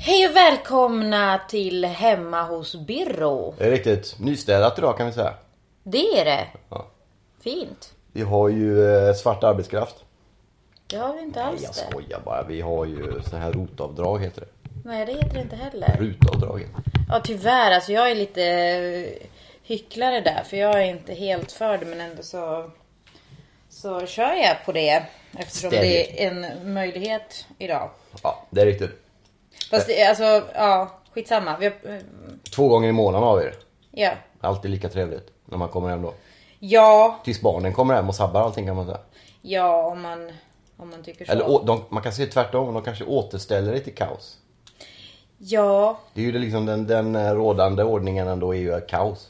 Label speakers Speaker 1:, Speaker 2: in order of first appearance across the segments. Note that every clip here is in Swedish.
Speaker 1: Hej och välkomna till Hemma hos Birro.
Speaker 2: Det är riktigt nystädat idag kan vi säga.
Speaker 1: Det är det.
Speaker 2: Ja.
Speaker 1: Fint.
Speaker 2: Vi har ju eh, svart arbetskraft.
Speaker 1: Det har vi inte
Speaker 2: Jag
Speaker 1: alls det.
Speaker 2: skojar bara. Vi har ju sådana här rotavdrag heter det.
Speaker 1: Nej, det heter det inte
Speaker 2: Mm.
Speaker 1: heller.
Speaker 2: Rutavdrag.
Speaker 1: Ja, tyvärr. Alltså, jag är lite eh, hycklare där. För jag är inte helt för det, men ändå så, så kör jag på det. Eftersom
Speaker 2: Städigt.
Speaker 1: det är en möjlighet idag.
Speaker 2: Ja, det är riktigt.
Speaker 1: Fast det, alltså, ja, skitsamma. Vi har, eh,
Speaker 2: Två gånger i månaden har vi det.
Speaker 1: ja.
Speaker 2: Alltid lika trevligt när man kommer hem då.
Speaker 1: Ja,
Speaker 2: Tills barnen kommer hem och sabbar allting kan man säga.
Speaker 1: ja, om man, om man tycker så.
Speaker 2: Eller å- de, man kan se tvärtom. De kanske återställer det till kaos.
Speaker 1: Ja,
Speaker 2: Det är ju det liksom den, den eh, rådande ordningen ändå är ju kaos.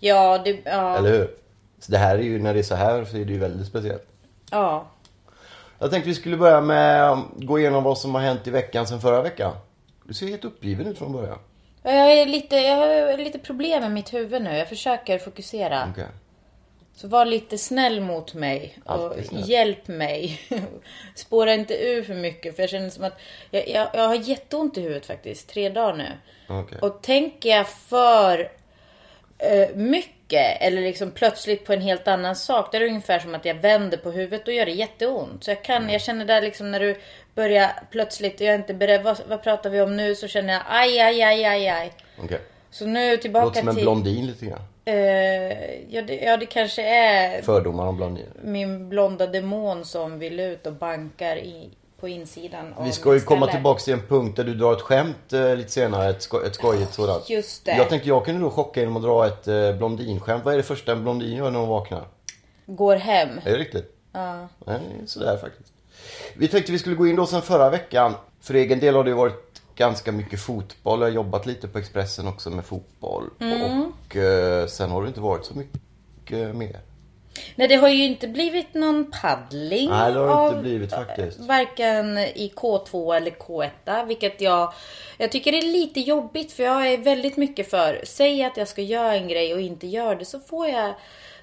Speaker 1: ja, det, ja.
Speaker 2: Eller hur? Så det här är ju, när det är så här så är det ju väldigt speciellt.
Speaker 1: ja.
Speaker 2: Jag tänkte vi skulle börja med att gå igenom vad som har hänt i veckan sen förra veckan. Du ser helt uppgiven ut från början.
Speaker 1: Ja, Jag, är lite, jag har lite problem med mitt huvud nu. Jag försöker fokusera.
Speaker 2: Okej.
Speaker 1: Så var lite snäll mot mig. Och
Speaker 2: Alltid snäll.
Speaker 1: hjälp mig. Spåra inte ur för mycket. För jag känner som att jag, jag, jag har jätteont i huvudet faktiskt. Tre dagar nu.
Speaker 2: Okej.
Speaker 1: Och tänker jag för eh, mycket eller liksom plötsligt på en helt annan sak. Då är det ungefär som att jag vänder på huvudet och gör det jätteont. Så jag kan, jag känner där liksom när du börjar plötsligt, jag är inte beredd, vad, vad pratar vi om nu? Så känner jag aj, aj, aj, aj, aj.
Speaker 2: Okej.
Speaker 1: Så nu
Speaker 2: Låter
Speaker 1: tillbaka
Speaker 2: som en
Speaker 1: till...
Speaker 2: blondin lite grann.
Speaker 1: Eh, ja, det, ja, det kanske är
Speaker 2: Fördomar om blondiner.
Speaker 1: min blonda demon som vill ut och bankar i, på insidan av
Speaker 2: Vi ska ju
Speaker 1: mitt
Speaker 2: komma
Speaker 1: ställe.
Speaker 2: tillbaka till en punkt där du drar ett skämt eh, lite senare. Ett, sko- ett skojigt sådant.
Speaker 1: Just det.
Speaker 2: Jag tänkte jag kunde då chocka genom att dra ett eh, blondinskämt. Vad är det första en blondin gör när hon vaknar?
Speaker 1: Går hem.
Speaker 2: Är det riktigt? Ja. Nej, sådär faktiskt. Vi tänkte vi skulle gå in då sen förra veckan. För egen del har det ju varit ganska mycket fotboll. Jag har jobbat lite på Expressen också med fotboll.
Speaker 1: Mm.
Speaker 2: Och eh, sen har det inte varit så mycket eh, mer.
Speaker 1: Nej, det har ju inte blivit någon paddling
Speaker 2: Nej, det har det
Speaker 1: av- eh,
Speaker 2: inte blivit faktiskt.
Speaker 1: Varken i K2 eller K1, vilket jag, jag tycker det är lite jobbigt för jag är väldigt mycket för, säg att jag ska göra en grej och inte gör det så får jag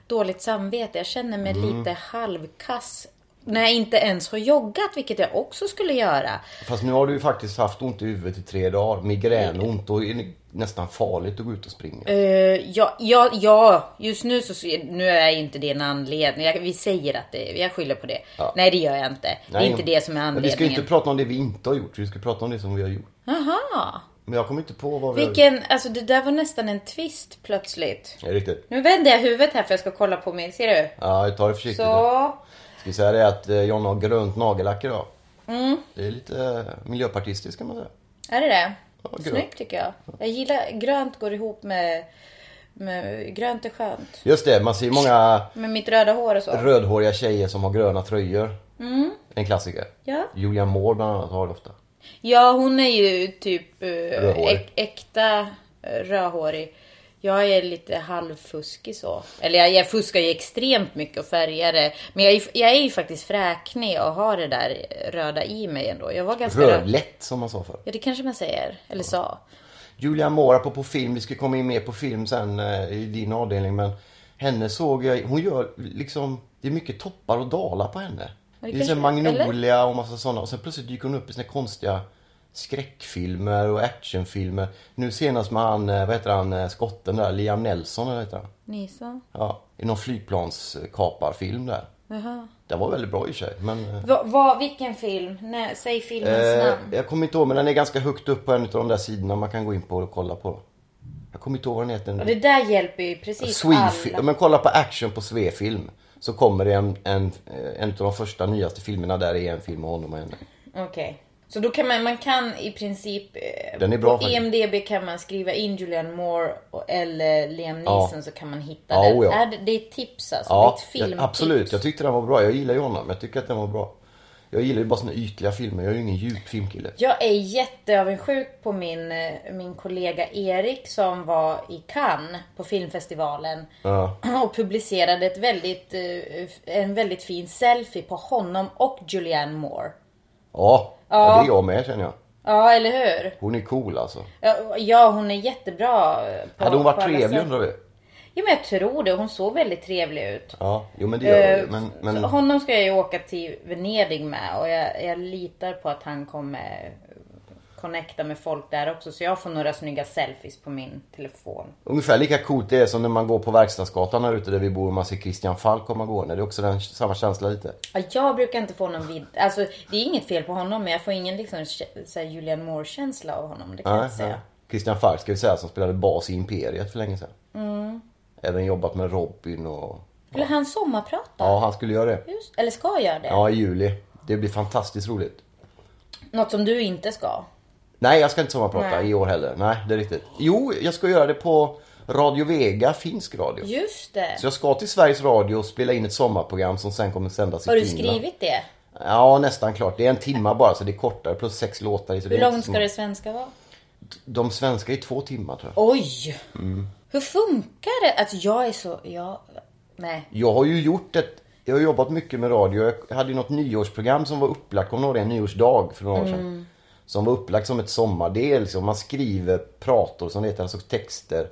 Speaker 1: dåligt samvete. Jag känner mig
Speaker 2: Mm.
Speaker 1: lite halvkass när jag inte ens har joggat, vilket jag också skulle göra.
Speaker 2: Fast nu har du ju faktiskt haft ont i huvudet i tre dagar. Migränont. Och är det nästan farligt att gå ut och springa.
Speaker 1: Eh, ja, ja, ja, just nu så ser- nu är inte det en anledning. Jag, vi säger att det, jag skyller på det.
Speaker 2: Ja.
Speaker 1: Nej, det gör jag inte. Det är
Speaker 2: Nej,
Speaker 1: inte det som är
Speaker 2: men Vi ska ju
Speaker 1: anledningen.
Speaker 2: inte prata om det vi inte har gjort. Vi ska prata om det som vi har gjort.
Speaker 1: Aha.
Speaker 2: Men jag kommer inte på vad vi har gjort.
Speaker 1: Vilken, alltså det där var nästan en twist plötsligt.
Speaker 2: Är det riktigt?
Speaker 1: Nu vänder jag huvudet här för jag ska kolla på mig, ser du?
Speaker 2: Ja, jag tar det försiktigt.
Speaker 1: Så.
Speaker 2: Ska vi säga det att eh, John har grönt nagellack idag? Det är lite eh, miljöpartistiskt kan man säga.
Speaker 1: Är det det?
Speaker 2: Ja, grönt.
Speaker 1: Snyggt tycker jag. Jag gillar, grönt går ihop med, med grönt är skönt.
Speaker 2: Just det, man ser ju många
Speaker 1: Med mitt röda hår och så.
Speaker 2: rödhåriga tjejer som har gröna tröjor. En klassiker.
Speaker 1: Ja.
Speaker 2: Julian Moore bland annat har det ofta.
Speaker 1: Ja, hon är ju typ eh,
Speaker 2: Rödhårig.
Speaker 1: äk, äkta eh, rödhårig. Jag är lite halvfuskig så. Eller jag, jag fuskar ju extremt mycket och färgar det. Men jag är, ju- jag är ju faktiskt fräknig och har det där röda i mig ändå. Jag var ganska röd.
Speaker 2: Rödlätt som man sa förr.
Speaker 1: Ja, det kanske man säger. Eller sa.
Speaker 2: Julian Moore på, på film, vi ska komma in mer på film sen eh, i din avdelning men henne såg jag, hon gör liksom, det är mycket toppar och dalar på henne. Det, är
Speaker 1: kanske-
Speaker 2: sen Magnolia och massa sådana och sen plötsligt dyker hon upp i sina konstiga skräckfilmer och actionfilmer. Nu senast med han, eh, vad heter han, eh, skotten där, Liam Nelson eller vad heter han?
Speaker 1: Nisa?
Speaker 2: Ja, i någon flygplanskaparfilm där.
Speaker 1: Jaha.
Speaker 2: Den var väldigt bra i och för sig men... eh,
Speaker 1: Va, va, vilken film? Nej, säg filmens
Speaker 2: Eh,
Speaker 1: namn.
Speaker 2: jag kommer inte ihåg, men den är ganska högt upp på en av de där sidorna man kan gå in på och kolla på. Jag kommer inte ihåg vad den heter.
Speaker 1: Och det där hjälper ju precis
Speaker 2: Swefilm.
Speaker 1: alla.
Speaker 2: Men kolla på action på Swefilm. Så kommer det en, en, eh, en av de första nyaste filmerna där är en film med honom och henne.
Speaker 1: Okej. Så då kan man, man kan i princip... eh,
Speaker 2: Den är bra
Speaker 1: på
Speaker 2: faktiskt.
Speaker 1: EMDB kan man skriva in Julian Moore och, eller Liam
Speaker 2: Ja.
Speaker 1: Neeson så kan man hitta
Speaker 2: Ja,
Speaker 1: den.
Speaker 2: oh ja.
Speaker 1: Är det, det är ett tips alltså?
Speaker 2: Ja,
Speaker 1: det är ett
Speaker 2: jag,
Speaker 1: filmtips.
Speaker 2: absolut. Jag tyckte den var bra. Jag gillar ju honom. Jag tycker att den var bra. Jag gillar ju bara såna ytliga filmer. Jag är ju ingen djup filmkille.
Speaker 1: Jag är jätteavundsjuk på min, eh, min kollega Erik som var i Cannes på filmfestivalen.
Speaker 2: Ja.
Speaker 1: Och publicerade ett väldigt, eh, en väldigt fin selfie på honom och Julianne Moore.
Speaker 2: Ja, ja. det är jag med känner jag.
Speaker 1: Ja, eller hur?
Speaker 2: Hon är cool alltså.
Speaker 1: Ja, Ja, hon är jättebra. eh, På,
Speaker 2: Hade hon varit
Speaker 1: på alla
Speaker 2: trevlig
Speaker 1: sätt.
Speaker 2: undrar vi?
Speaker 1: Ja, men jag tror det. Hon såg väldigt trevlig ut.
Speaker 2: Ja, jo men det gör
Speaker 1: Eh,
Speaker 2: hon ju. Men,
Speaker 1: så
Speaker 2: men
Speaker 1: Honom ska jag ju åka till Venedig med och jag, jag litar på att han kommer connecta med folk där också. Så jag får några snygga selfies på min telefon.
Speaker 2: ungefär lika coolt det är som när man går på Verkstadsgatan här ute där vi bor och man ser Christian Falk komma gående. Det är också den, samma känsla lite.
Speaker 1: Ja, Jag brukar inte få någon vid... Alltså det är inget fel på honom men jag får ingen liksom kä- så här Julian Moore känsla av honom. Det kan jag
Speaker 2: Nej,
Speaker 1: inte
Speaker 2: nej.
Speaker 1: säga.
Speaker 2: Christian Falk ska vi säga som spelade bas i Imperiet för länge sedan.
Speaker 1: Mm.
Speaker 2: Även jobbat med Robin och...
Speaker 1: Skulle han sommarprata?
Speaker 2: Ja, han skulle göra det.
Speaker 1: Just, eller ska göra det?
Speaker 2: Ja, i juli. Det blir fantastiskt roligt.
Speaker 1: Något som du inte ska?
Speaker 2: Nej, jag ska inte sommarprata
Speaker 1: Nej.
Speaker 2: i år heller. Nej, det är riktigt. Jo, jag ska göra det på Radio Vega, finsk radio.
Speaker 1: Just det!
Speaker 2: Så jag ska till Sveriges Radio och spela in ett sommarprogram som sen kommer sändas i
Speaker 1: Har du
Speaker 2: Finland.
Speaker 1: skrivit det?
Speaker 2: Ja, nästan klart. Det är en timma bara så det är kortare plus sex låtar. i, Så
Speaker 1: Hur
Speaker 2: det är
Speaker 1: långt
Speaker 2: inte så
Speaker 1: ska det svenska vara?
Speaker 2: De svenska är två timmar tror jag.
Speaker 1: Oj!
Speaker 2: Mm.
Speaker 1: Hur funkar det? Alltså jag är så... Jag... Nej.
Speaker 2: Jag har ju gjort ett... Jag har jobbat mycket med radio. Jag hade ju något nyårsprogram som var upplagt, kommer du ihåg det? En nyårsdag för några år sedan.
Speaker 1: Mm.
Speaker 2: Som var upplagt som ett sommardel. Liksom. Man skriver prator som det heter, alltså texter.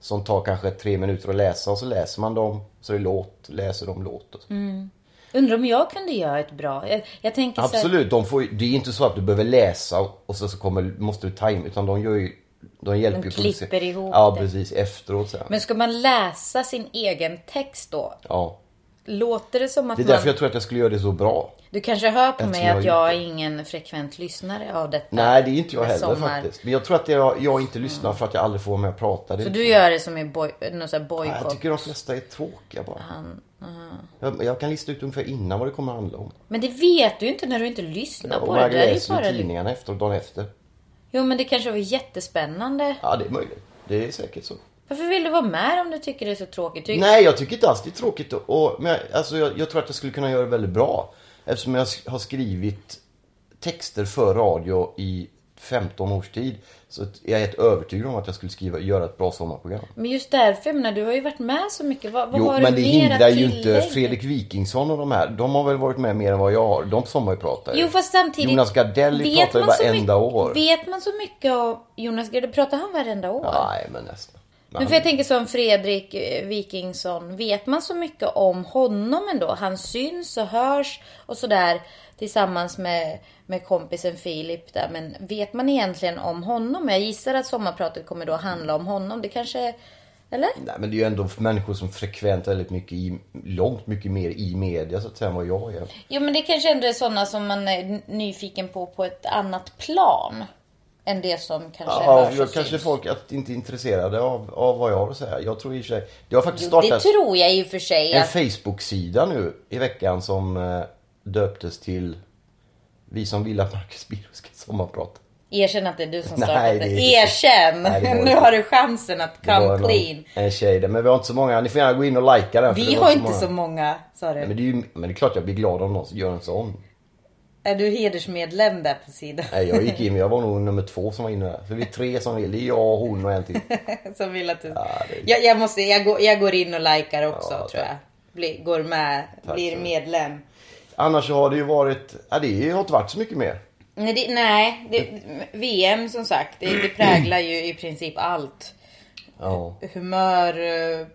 Speaker 2: Som tar kanske tre minuter att läsa och så läser man dem. Så det är låt, läser de låt och så.
Speaker 1: Mm, Undrar om jag kunde göra ett bra... Jag, jag tänker så här,
Speaker 2: Absolut, de får, ju- det är inte så att du behöver läsa och så, så kommer, måste du tajma. Utan de gör ju... De hjälper
Speaker 1: De
Speaker 2: ju producera-
Speaker 1: klipper ihop
Speaker 2: Ja,
Speaker 1: det.
Speaker 2: precis. Efteråt sen.
Speaker 1: Men ska man läsa sin egen text då?
Speaker 2: Ja.
Speaker 1: Låter det som att
Speaker 2: Det är
Speaker 1: man...
Speaker 2: därför jag tror att jag skulle göra det så bra.
Speaker 1: Du kanske hör på mig
Speaker 2: jag har
Speaker 1: att jag är ingen frekvent lyssnare av detta.
Speaker 2: Nej, det är inte jag heller
Speaker 1: Sommar.
Speaker 2: faktiskt. Men jag tror att jag, jag inte lyssnar för att jag aldrig får vara med och prata. Det,
Speaker 1: Så du gör det som en boj- någon sån här
Speaker 2: Nej, jag
Speaker 1: bojkott.
Speaker 2: tycker de flesta är tråkiga bara. jag, jag kan lista ut ungefär innan vad det kommer att handla om.
Speaker 1: Men det vet du ju inte när du inte lyssnar på
Speaker 2: Och
Speaker 1: det.
Speaker 2: jag
Speaker 1: Det där är ju
Speaker 2: läser
Speaker 1: bara...
Speaker 2: ju tidningarna efter och dagen efter.
Speaker 1: Jo men det kanske var jättespännande.
Speaker 2: Ja, det är möjligt. Det är säkert så.
Speaker 1: Varför vill du vara med om du tycker det är så tråkigt? Du...
Speaker 2: Nej, jag tycker inte alls det är tråkigt. Och, och, men jag, alltså, jag, jag tror att jag skulle kunna göra det väldigt bra. Eftersom jag sk- har skrivit texter för radio i 15 års tid. Så att jag är helt övertygad om att jag skulle skriva, göra ett bra sommarprogram.
Speaker 1: Men just därför, jag menar, du har ju varit med så mycket. Vad, vad
Speaker 2: Jo,
Speaker 1: har
Speaker 2: men
Speaker 1: du
Speaker 2: det
Speaker 1: mer att
Speaker 2: hindrar ju inte
Speaker 1: tillägga?
Speaker 2: Fredrik Wikingsson och de här. De har väl varit med mer än vad jag har. De sommarpratar ju.
Speaker 1: Jo fast samtidigt.
Speaker 2: Jonas Gardell
Speaker 1: vet
Speaker 2: pratar ju
Speaker 1: man så
Speaker 2: varenda
Speaker 1: mycket-
Speaker 2: år.
Speaker 1: Vet man så mycket om Jonas Gardell? Pratar han varenda år?
Speaker 2: Nej, men nästan. Men
Speaker 1: Men
Speaker 2: han-
Speaker 1: för jag tänker som Fredrik eh, Wikingsson. Vet man så mycket om honom ändå? Han syns och hörs och sådär tillsammans med, med kompisen Filip där. Men vet man egentligen om honom? Jag gissar att sommarpratet kommer då handla om honom. Det kanske... Eller?
Speaker 2: Nej, men det är ju ändå människor som frekvent väldigt mycket i, långt mycket mer i media så att säga än vad jag är.
Speaker 1: Jo men det kanske ändå är sådana som man är n- nyfiken på på ett annat plan. Än det som kanske
Speaker 2: Ja,
Speaker 1: hörs och
Speaker 2: jag kanske
Speaker 1: syns.
Speaker 2: folk att inte är intresserade av, av vad jag har att säga. Jag tror i och för sig... Jag har faktiskt
Speaker 1: Jo, det
Speaker 2: startat
Speaker 1: tror jag i och för sig.
Speaker 2: en
Speaker 1: Att,
Speaker 2: Facebook-sida nu i veckan som eh, döptes till Vi som vill att Marcus Birro ska sommarprata.
Speaker 1: erkänn att det är du som
Speaker 2: Nej,
Speaker 1: startat
Speaker 2: det
Speaker 1: det.
Speaker 2: är-
Speaker 1: Erkänn!
Speaker 2: Nej, det går
Speaker 1: nu
Speaker 2: inte.
Speaker 1: har du chansen att
Speaker 2: Det var
Speaker 1: come
Speaker 2: någon-
Speaker 1: clean.
Speaker 2: En tjej där, men vi har inte så många. Ni får gärna gå in och likea den. för
Speaker 1: Vi
Speaker 2: det var
Speaker 1: har inte så
Speaker 2: många.
Speaker 1: många, sa du.
Speaker 2: Nej, Men det, är ju, men det är klart jag blir glad om någon gör en sån.
Speaker 1: Är du hedersmedlem där på sidan?
Speaker 2: Nej, jag gick in, men jag var nog nummer två som var inne där. För vi är tre som vill. Det är jag, hon och en till.
Speaker 1: som vill att du...
Speaker 2: det är-
Speaker 1: jag, jag, måste, jag, går, jag går in och likar också
Speaker 2: Ja,
Speaker 1: tror jag. Bli, går med, blir
Speaker 2: så.
Speaker 1: medlem.
Speaker 2: Annars så har det ju varit... Ja, det har inte varit så mycket mer.
Speaker 1: Nej, det, nej det,
Speaker 2: Mm.
Speaker 1: VM som sagt, det, det präglar ju i princip allt.
Speaker 2: Ja.
Speaker 1: Humör, eh,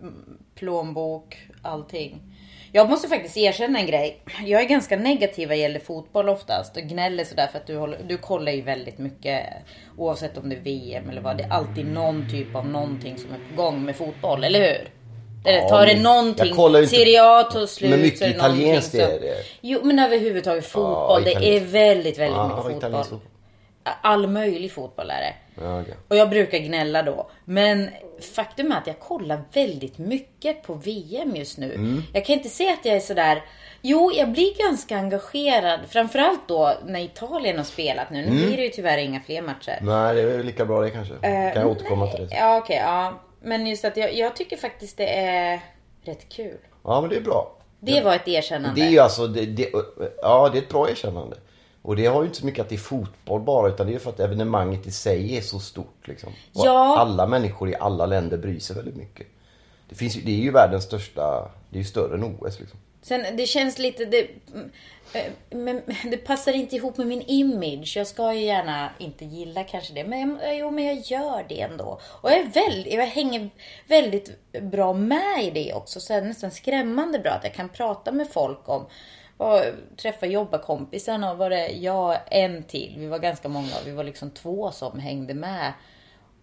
Speaker 1: plånbok, allting. Jag måste faktiskt erkänna en grej. Jag är ganska negativ vad gäller fotboll oftast och gnäller sådär för att du, håller, du kollar ju väldigt mycket oavsett om det är VM eller vad. Det är alltid någon typ av någonting som är på gång med fotboll, eller hur? Eller
Speaker 2: Ja,
Speaker 1: tar det
Speaker 2: men
Speaker 1: någonting,
Speaker 2: jag kollar ju inte-
Speaker 1: Serie A tog slut.
Speaker 2: Men mycket
Speaker 1: så är det någonting
Speaker 2: italienskt är
Speaker 1: som-
Speaker 2: det.
Speaker 1: Jo men överhuvudtaget fotboll, det är
Speaker 2: italienskt.
Speaker 1: väldigt, väldigt
Speaker 2: Ja,
Speaker 1: mycket fotboll.
Speaker 2: italiensk fotboll.
Speaker 1: All möjlig fotboll är det.
Speaker 2: Ja, okej.
Speaker 1: Och jag brukar gnälla då. Men
Speaker 2: Mm.
Speaker 1: faktum är att jag kollar väldigt mycket på VM just nu. Jag kan inte säga att jag är sådär... Jo, jag blir ganska engagerad. Framförallt då när Italien har spelat nu. Nu
Speaker 2: Mm.
Speaker 1: blir det ju tyvärr inga fler matcher.
Speaker 2: Nej, det är väl lika bra det kanske.
Speaker 1: Eh,
Speaker 2: Mm. kan jag återkomma till det. sen.
Speaker 1: Ja, okej. ja. Men just att jag, jag tycker faktiskt det är rätt kul.
Speaker 2: Ja, men det är bra.
Speaker 1: Det var ett erkännande.
Speaker 2: Det är ju alltså, det, det, ja det är ett bra erkännande. Och det har ju inte så mycket att det är fotboll bara utan det är för att evenemanget i sig är så stort liksom. Och
Speaker 1: Ja.
Speaker 2: alla människor i alla länder bryr sig väldigt mycket. Det, finns, ju- det är ju världens största, det är ju större än OS liksom.
Speaker 1: Sen det känns lite... Det, mm, eh, men det passar inte ihop med min image. Jag ska ju gärna inte gilla kanske det. Men jag, eh, jo, men jag gör det ändå. Och jag, är väldigt, jag hänger väldigt bra med i det också. Så det är nästan skrämmande bra att jag kan prata med folk om vad- träffa jobbarkompisarna och var det jag en till. Vi var ganska många. Vi var liksom två som hängde med.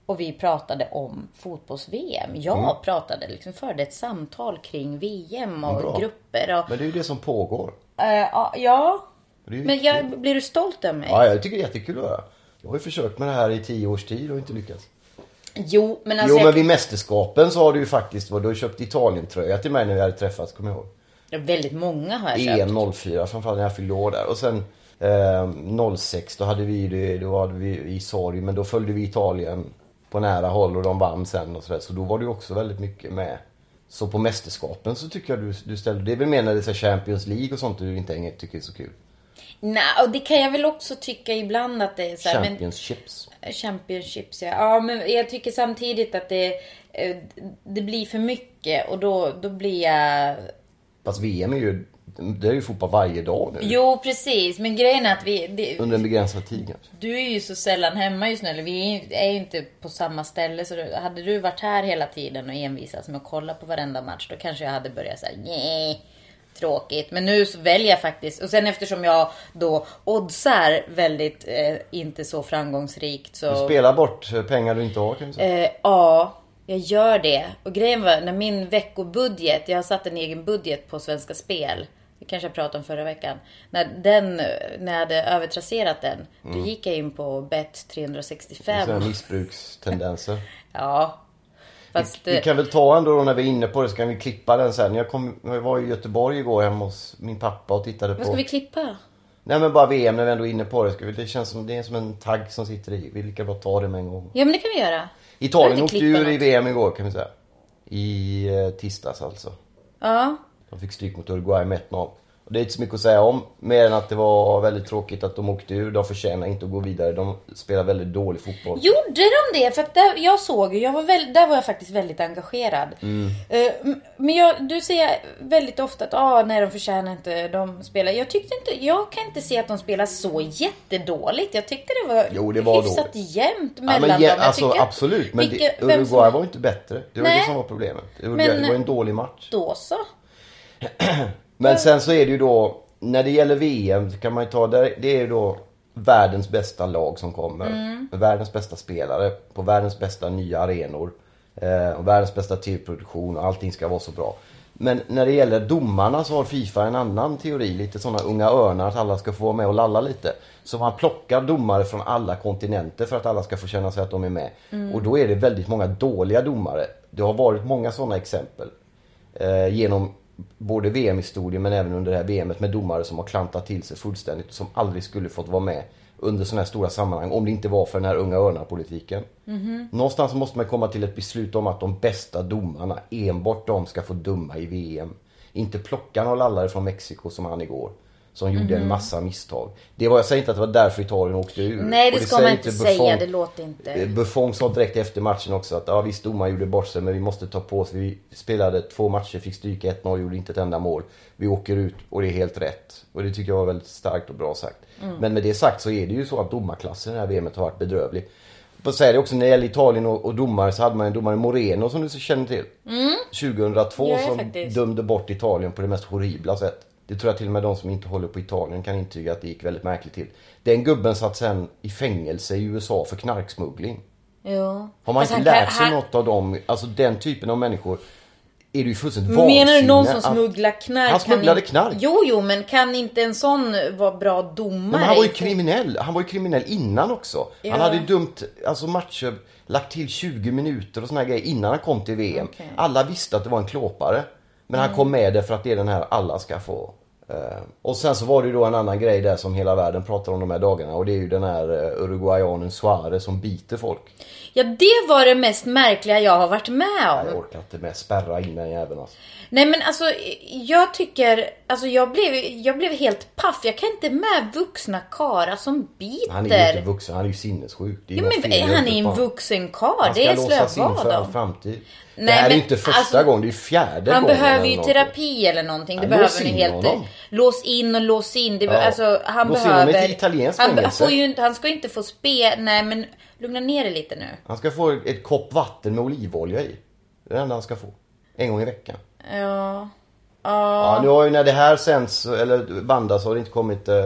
Speaker 1: Och vi pratade om fotbolls-VM. Jag pratade liksom, förde ett samtal kring VM och
Speaker 2: Bra.
Speaker 1: grupper och
Speaker 2: Men det är ju det som pågår.
Speaker 1: Eh, ja, ja.
Speaker 2: Det är ju
Speaker 1: Men jag, blir du stolt över mig?
Speaker 2: Ja, jag tycker det är jättekul att höra. Jag har ju försökt med det här i tio års tid och inte lyckats.
Speaker 1: Jo, men alltså
Speaker 2: jo men
Speaker 1: jag,
Speaker 2: vid mästerskapen så har du ju faktiskt, du har köpt Italien-tröja till mig när vi hade träffats, kommer jag ihåg.
Speaker 1: väldigt många har jag köpt.
Speaker 2: EM 04 framförallt när jag fyllde år där. Och sen eh, 06 då hade vi det, då hade vi i sorg men då följde vi Italien på nära håll och de vann sen och sådär. Så då var du också väldigt mycket med. Så på mästerskapen så tycker jag du, du ställde, det är väl mer när det är så här Champions League och sånt du inte hänger, tycker är så kul.
Speaker 1: Nej, och det kan jag väl också tycka ibland att det är så här, men
Speaker 2: Championships.
Speaker 1: Championships, ja. ja. men jag tycker samtidigt att det, eh, det blir för mycket och då, då blir jag...
Speaker 2: Fast VM är ju, det är ju fotboll varje dag nu.
Speaker 1: Jo, precis. Men grejen är att vi... Det,
Speaker 2: Under en begränsad tid kanske.
Speaker 1: du är ju så sällan hemma just nu. Eller vi är ju- är ju inte på samma ställe. Så då- hade du varit här hela tiden och envisats med att kolla på varenda match. Då kanske jag hade börjat säga nej. Tråkigt. Men nu så väljer jag faktiskt. Och sen eftersom jag då oddsar väldigt eh, inte så framgångsrikt. Så...
Speaker 2: Du spelar bort eh, pengar du inte har kan vi säga.
Speaker 1: Eh, ja, jag gör det. Och grejen var när min veckobudget, jag har satt en egen budget på Svenska Spel. Det kanske jag pratade om förra veckan. När, den, eh, när jag hade övertrasserat den,
Speaker 2: Mm.
Speaker 1: då gick jag in på bet
Speaker 2: Sådana
Speaker 1: 365.
Speaker 2: missbrukstendenser.
Speaker 1: Ja. Fast,
Speaker 2: Vi
Speaker 1: eh,
Speaker 2: kan väl ta ändå då när vi är inne på det så kan vi klippa den sen. Jag, kom, jag var i Göteborg igår hemma hos min pappa och tittade
Speaker 1: vad
Speaker 2: på...
Speaker 1: ska vi klippa?
Speaker 2: Nej men bara VM när vi ändå är inne på det. Ska vi, det känns som det är som en tagg som sitter i. Vi lika bra ta det med en gång.
Speaker 1: Ja men det kan vi göra. Jag
Speaker 2: Italien
Speaker 1: vill
Speaker 2: åkte
Speaker 1: inte klippa
Speaker 2: ur i
Speaker 1: något.
Speaker 2: VM igår kan vi säga. I eh, tisdags alltså.
Speaker 1: Ja.
Speaker 2: De fick stryk mot Uruguay med 1-0. Och det är inte så mycket att säga om. Mer än att det var väldigt tråkigt att de åkte ur. De förtjänar inte att gå vidare. De spelar väldigt dålig fotboll.
Speaker 1: Gjorde de det? För att där, jag såg ju, jag var väl, där var jag faktiskt väldigt engagerad.
Speaker 2: Mm.
Speaker 1: Eh, m- men jag, du säger väldigt ofta att ah, nej, de förtjänar inte, de spelar. Jag tyckte inte, jag kan inte se att de spelar så jättedåligt. Jag tyckte det var,
Speaker 2: Jo, det var
Speaker 1: hyfsat
Speaker 2: dåligt.
Speaker 1: jämnt
Speaker 2: Ja,
Speaker 1: mellan
Speaker 2: men,
Speaker 1: dem.
Speaker 2: ja,
Speaker 1: Jag
Speaker 2: alltså,
Speaker 1: tycker att-
Speaker 2: absolut, men
Speaker 1: vilka-
Speaker 2: det,
Speaker 1: vem som-
Speaker 2: Uruguay var ju inte bättre. Det var
Speaker 1: Nej.
Speaker 2: det som var problemet. Uruguay,
Speaker 1: Men-
Speaker 2: det var ju en dålig match.
Speaker 1: Då så.
Speaker 2: Men sen så är det ju då, när det gäller VM så kan man ju ta, där- det är ju då världens bästa lag som kommer. Med världens bästa spelare, på världens bästa nya arenor. Eh, och världens bästa tv-produktion och allting ska vara så bra. Men när det gäller domarna så har Fifa en annan teori, lite sådana unga örnar att alla ska få vara med och lalla lite. Så man plockar domare från alla kontinenter för att alla ska få känna sig att de är med. Och då är det väldigt många dåliga domare. Det har varit många sådana exempel eh, genom både VM-historien men även under det här VMet med domare som har klantat till sig fullständigt som aldrig skulle fått vara med under sådana här stora sammanhang om det inte var för den här unga örnar-politiken.
Speaker 1: Mhm.
Speaker 2: Någonstans måste man komma till ett beslut om att de bästa domarna, enbart de, ska få döma i VM. Inte plocka någon lallare från Mexiko som han igår. Som gjorde
Speaker 1: Mhm.
Speaker 2: en massa misstag. Det var, jag säger inte att det var därför Italien åkte ur.
Speaker 1: Nej, det
Speaker 2: Mm. Och
Speaker 1: ska
Speaker 2: säger typ
Speaker 1: man inte säga,
Speaker 2: Buffon.
Speaker 1: det låter inte.
Speaker 2: Eh, Buffon sa direkt efter matchen också att ja, visst domaren gjorde bort sig men vi måste ta på oss. Vi spelade två matcher, fick stryka 1-0, gjorde inte ett enda mål. Vi åker ut och det är helt rätt. Och det tycker jag var väldigt starkt och bra sagt. Men med det sagt så är det ju så att domarklassen i det här VMet har varit bedrövlig. På säga det också när det gäller Italien och, och domare så hade man en domare Moreno som du så känner till. 2002
Speaker 1: Ja,
Speaker 2: som
Speaker 1: faktiskt.
Speaker 2: dömde bort Italien på det mest horribla sätt. Det tror jag till och med de som inte håller på Italien kan intyga att det gick väldigt märkligt till. Den gubben satt sen i fängelse i USA för knarksmuggling.
Speaker 1: Jo.
Speaker 2: Har man
Speaker 1: Fast
Speaker 2: inte
Speaker 1: han
Speaker 2: lärt
Speaker 1: kan-
Speaker 2: sig
Speaker 1: han-
Speaker 2: något av dem, alltså den typen av människor är det ju fullständigt
Speaker 1: Menar du
Speaker 2: vansinne
Speaker 1: någon som
Speaker 2: att-
Speaker 1: smugglar knark? kan
Speaker 2: Han smugglade
Speaker 1: inte-
Speaker 2: knark.
Speaker 1: Jo, jo, men kan inte en sån vara bra domare?
Speaker 2: Nej, men han var ju
Speaker 1: i-
Speaker 2: kriminell. Han var ju kriminell innan också.
Speaker 1: Ja.
Speaker 2: Han hade ju dömt alltså matcher, lagt till 20 minuter och såna här grejer innan han kom till VM.
Speaker 1: Okej. Mm.
Speaker 2: Alla visste att det var en klåpare. Men han kom med det för att det är den här alla ska få Eh, Och sen så var det ju då en annan grej där som hela världen pratar om de här dagarna och det är ju den här eh, uruguayanen Suarez som biter folk.
Speaker 1: Ja, det var det mest märkliga jag har varit med om.
Speaker 2: Jag orkar inte med spärra in den jäveln alltså.
Speaker 1: Nej men alltså jag tycker, alltså jag blev, jag blev helt paff. Jag kan inte med vuxna karlar som biter.
Speaker 2: Han är ju inte vuxen, han är ju sinnessjuk. Det är ju
Speaker 1: Jo,
Speaker 2: något fel i
Speaker 1: men han är ju en
Speaker 2: huvudet på honom.
Speaker 1: vuxen karl.
Speaker 2: Han
Speaker 1: Det är
Speaker 2: ska låsas in för all
Speaker 1: slövad av.
Speaker 2: framtid.
Speaker 1: Nej,
Speaker 2: Nej, det här är
Speaker 1: men
Speaker 2: ju inte första
Speaker 1: alltså,
Speaker 2: gången, det är ju fjärde
Speaker 1: Han
Speaker 2: gången.
Speaker 1: behöver
Speaker 2: eller
Speaker 1: ju
Speaker 2: någonting.
Speaker 1: terapi eller någonting. Det
Speaker 2: Ja,
Speaker 1: behöver
Speaker 2: lås
Speaker 1: han ju
Speaker 2: in
Speaker 1: helt...
Speaker 2: honom.
Speaker 1: Lås in och lås in. Det be...
Speaker 2: Ja.
Speaker 1: Alltså han
Speaker 2: Lås in honom i ett
Speaker 1: behöver...
Speaker 2: italienskt
Speaker 1: han, be-
Speaker 2: fängelse.
Speaker 1: får ju... inte- han ska ju inte få spe... Nej men lugna ner dig lite nu.
Speaker 2: Han ska få ett kopp vatten med olivolja i. Det är det enda han ska få. En gång i veckan.
Speaker 1: Ja.
Speaker 2: Ja, nu har ju när det här sänds, eller bandas, har det inte kommit... Eh,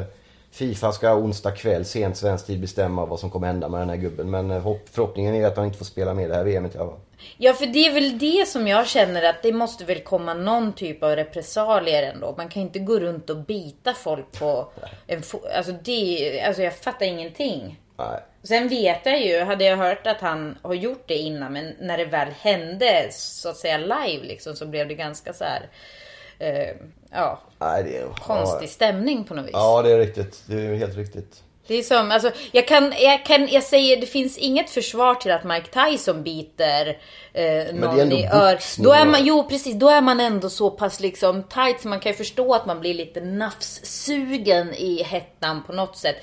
Speaker 2: Fifa ska onsdag kväll, sen svensk tid, bestämma vad som kommer hända med den här gubben. Men eh, hopp, förhoppningen är att han inte får spela med i det här VMet i alla fall.
Speaker 1: Ja, för det är väl det som jag känner att det måste väl komma någon typ av repressalier ändå. Man kan ju inte gå runt och bita folk på en fo- alltså, det, alltså jag fattar ingenting.
Speaker 2: Nej.
Speaker 1: Sen vet jag ju, hade jag hört att han har gjort det innan, men när det väl hände så att säga live liksom så blev det ganska så här. Eh, ja,
Speaker 2: Nej, det är...
Speaker 1: konstig stämning på något vis.
Speaker 2: Ja, det är riktigt. Det är helt riktigt.
Speaker 1: Det är som, alltså, jag kan, jag kan, jag säger, det finns inget försvar till att Mike Tyson biter eh,
Speaker 2: det är
Speaker 1: någon
Speaker 2: ändå
Speaker 1: i ör.
Speaker 2: boxning,
Speaker 1: Då är man,
Speaker 2: va?
Speaker 1: jo precis, då är man ändå så pass liksom tight så man kan ju förstå att man blir lite nafssugen i hettan på något sätt.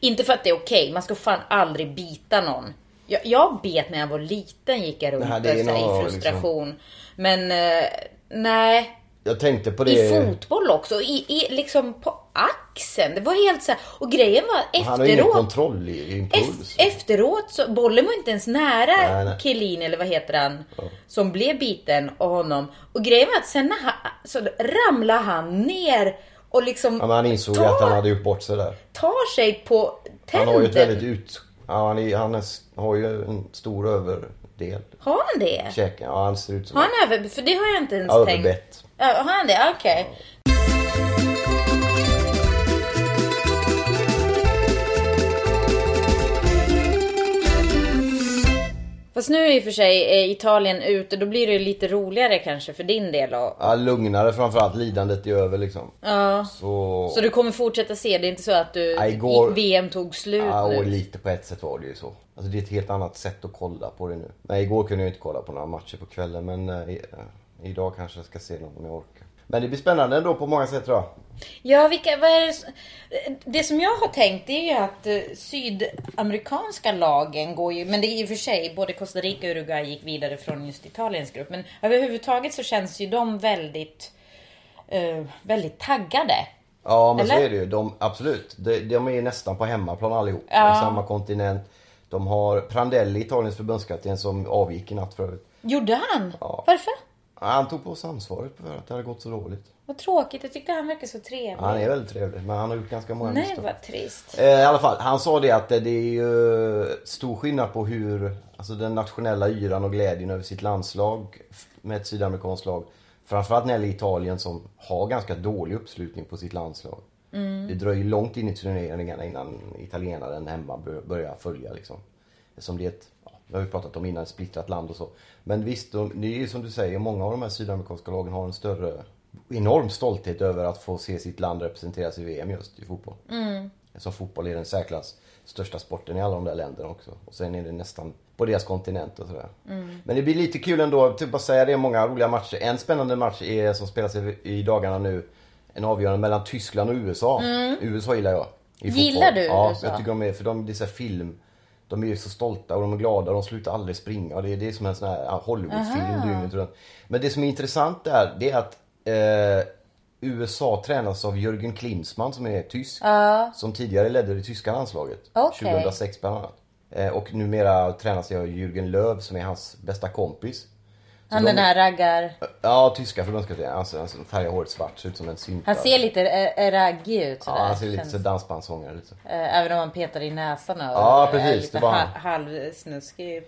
Speaker 1: Inte för att det är okej, man ska fan aldrig bita någon. Jag, jag bet när jag var liten gick jag runt
Speaker 2: Det här, det
Speaker 1: där
Speaker 2: är
Speaker 1: så här,
Speaker 2: någon, liksom.
Speaker 1: i frustration. Men eh, nej,
Speaker 2: Jag tänkte på det...
Speaker 1: i fotboll också. I, i, liksom på axeln. Det var helt så här, Och grejen var
Speaker 2: Han har ju ingen
Speaker 1: efteråt.
Speaker 2: kontroll i impuls.
Speaker 1: Ef- efteråt så, bollen var inte ens nära
Speaker 2: Nej, nej.
Speaker 1: Kelin eller vad heter han, som blev biten av honom. Och grejen var att sen när han, så ramlar han ner och liksom
Speaker 2: Ja, men han insåg
Speaker 1: tar,
Speaker 2: att han hade gjort bort sig där.
Speaker 1: tar sig på
Speaker 2: Han har ju ett väldigt
Speaker 1: tänden.
Speaker 2: ut... Ja, han, är, han är, har ju en stor överdel.
Speaker 1: Har han det?
Speaker 2: Käken. Ja, han ser ut som
Speaker 1: Har han över... För det har jag inte ens tänkt.
Speaker 2: överbett.
Speaker 1: Ja, har han det? Okej. Fast nu är i och för sig eh, Italien ute, då blir det ju lite roligare kanske för din del då.
Speaker 2: Ja, lugnare framförallt. Lidandet är över liksom.
Speaker 1: Ja.
Speaker 2: Så...
Speaker 1: Så du kommer fortsätta se, det är inte så att du...
Speaker 2: Ja, igår-
Speaker 1: i- VM tog slut
Speaker 2: Ja, och
Speaker 1: nu.
Speaker 2: lite på ett sätt var det ju så. Alltså det är ett helt annat sätt att kolla på det nu. Nej, igår kunde jag inte kolla på några matcher på kvällen men eh, i- eh, idag kanske jag ska se någon om jag orkar. Men det blir spännande ändå på många sätt tror jag.
Speaker 1: Ja, vilka, vad är det, s- det som jag har tänkt är ju att eh, sydamerikanska lagen går ju, men det är i och för sig, både Costa Rica och Uruguay gick vidare från just Italiens grupp, men överhuvudtaget så känns ju de väldigt, eh, väldigt taggade.
Speaker 2: Ja men så
Speaker 1: Eller?
Speaker 2: är det ju. De, absolut. De, de är nästan på hemmaplan allihop.
Speaker 1: Ja.
Speaker 2: Samma kontinent. De har Prandelli, Italiens förbundskapten, som avgick i natt för övrigt.
Speaker 1: Gjorde han?
Speaker 2: Ja.
Speaker 1: Varför?
Speaker 2: Ja, Han tog på sig ansvaret för att det hade gått så dåligt.
Speaker 1: Vad tråkigt, jag tyckte han verkade så trevlig.
Speaker 2: Han är väldigt trevlig men han har gjort ganska många
Speaker 1: Mm. Nej,
Speaker 2: misstag.
Speaker 1: vad trist.
Speaker 2: Eh, I alla fall, han sa det att det det är ju stor skillnad på hur alltså den nationella yran och glädjen över sitt landslag f- med ett sydamerikanskt lag. Framförallt när det gäller Italien som har ganska dålig uppslutning på sitt landslag. Det dröjer långt in i turneringarna innan italienaren hemma bör- börjar följa liksom. Som det är ett, ja, det har vi pratat om innan, ett splittrat land och så. Men visst, de, det är ju som du säger, många av de här sydamerikanska lagen har en större enorm stolthet över att få se sitt land representeras i VM just i fotboll. Eftersom fotboll är den särklass största sporten i alla de där länderna också. Och sen är det nästan på deras kontinent och sådär.
Speaker 1: Mm.
Speaker 2: Men det blir lite kul ändå, typ bara säga det, många roliga matcher. En spännande match är, som spelas i- i dagarna nu, en avgörande mellan Tyskland och USA. USA gillar jag. i fotboll.
Speaker 1: Mm. Gillar du
Speaker 2: Ja,
Speaker 1: USA?
Speaker 2: jag tycker de är, för de, det är så här film. De är ju så stolta och de är glada och de slutar aldrig springa. Och det, är- det är som en sån här ja, Hollywoodfilm dygnet runt. Men det som är intressant där, det är att eh, USA tränas av Jürgen Klinsmann som är tysk. Som tidigare ledde det tyska landslaget.
Speaker 1: Okej.
Speaker 2: 2006 bland annat. Eh, och numera tränas jag av Jürgen Löw som är hans bästa kompis. Så
Speaker 1: Han
Speaker 2: de-
Speaker 1: den här raggar...
Speaker 2: Ja, tyska förbundskapten. Alltså, han färgar håret svart, ser ut som en syntare.
Speaker 1: Han ser lite eh, eh, raggig ut
Speaker 2: Ja,
Speaker 1: sådär.
Speaker 2: han ser lite
Speaker 1: Känns-
Speaker 2: så dansbandssångare. Lite. så.
Speaker 1: eh, Även om han petar i näsan och
Speaker 2: Ja,
Speaker 1: är
Speaker 2: precis,
Speaker 1: lite
Speaker 2: det var han.
Speaker 1: ha- halvsnuskig.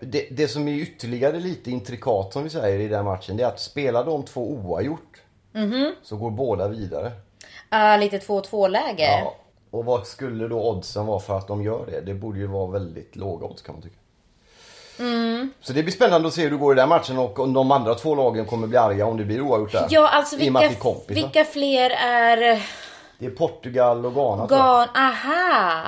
Speaker 2: Det, det som är ytterligare lite intrikat som vi säger i den här matchen, det är att spela de två oavgjort.
Speaker 1: Mhm.
Speaker 2: Så går båda vidare.
Speaker 1: Ah, lite 2-2 läge.
Speaker 2: Ja. Och vad skulle då oddsen vara för att de gör det? Det borde ju vara väldigt låga odds kan man tycka.
Speaker 1: Mm.
Speaker 2: Så det blir spännande att se hur det går i den matchen och om de andra två lagen kommer bli arga om det blir oavgjort där.
Speaker 1: Ja, alltså
Speaker 2: I och med att
Speaker 1: vilka,
Speaker 2: det är kompisar. Alltså.
Speaker 1: vilka fler är...
Speaker 2: Det är Portugal och Ghana tror jag.
Speaker 1: Gan, aha!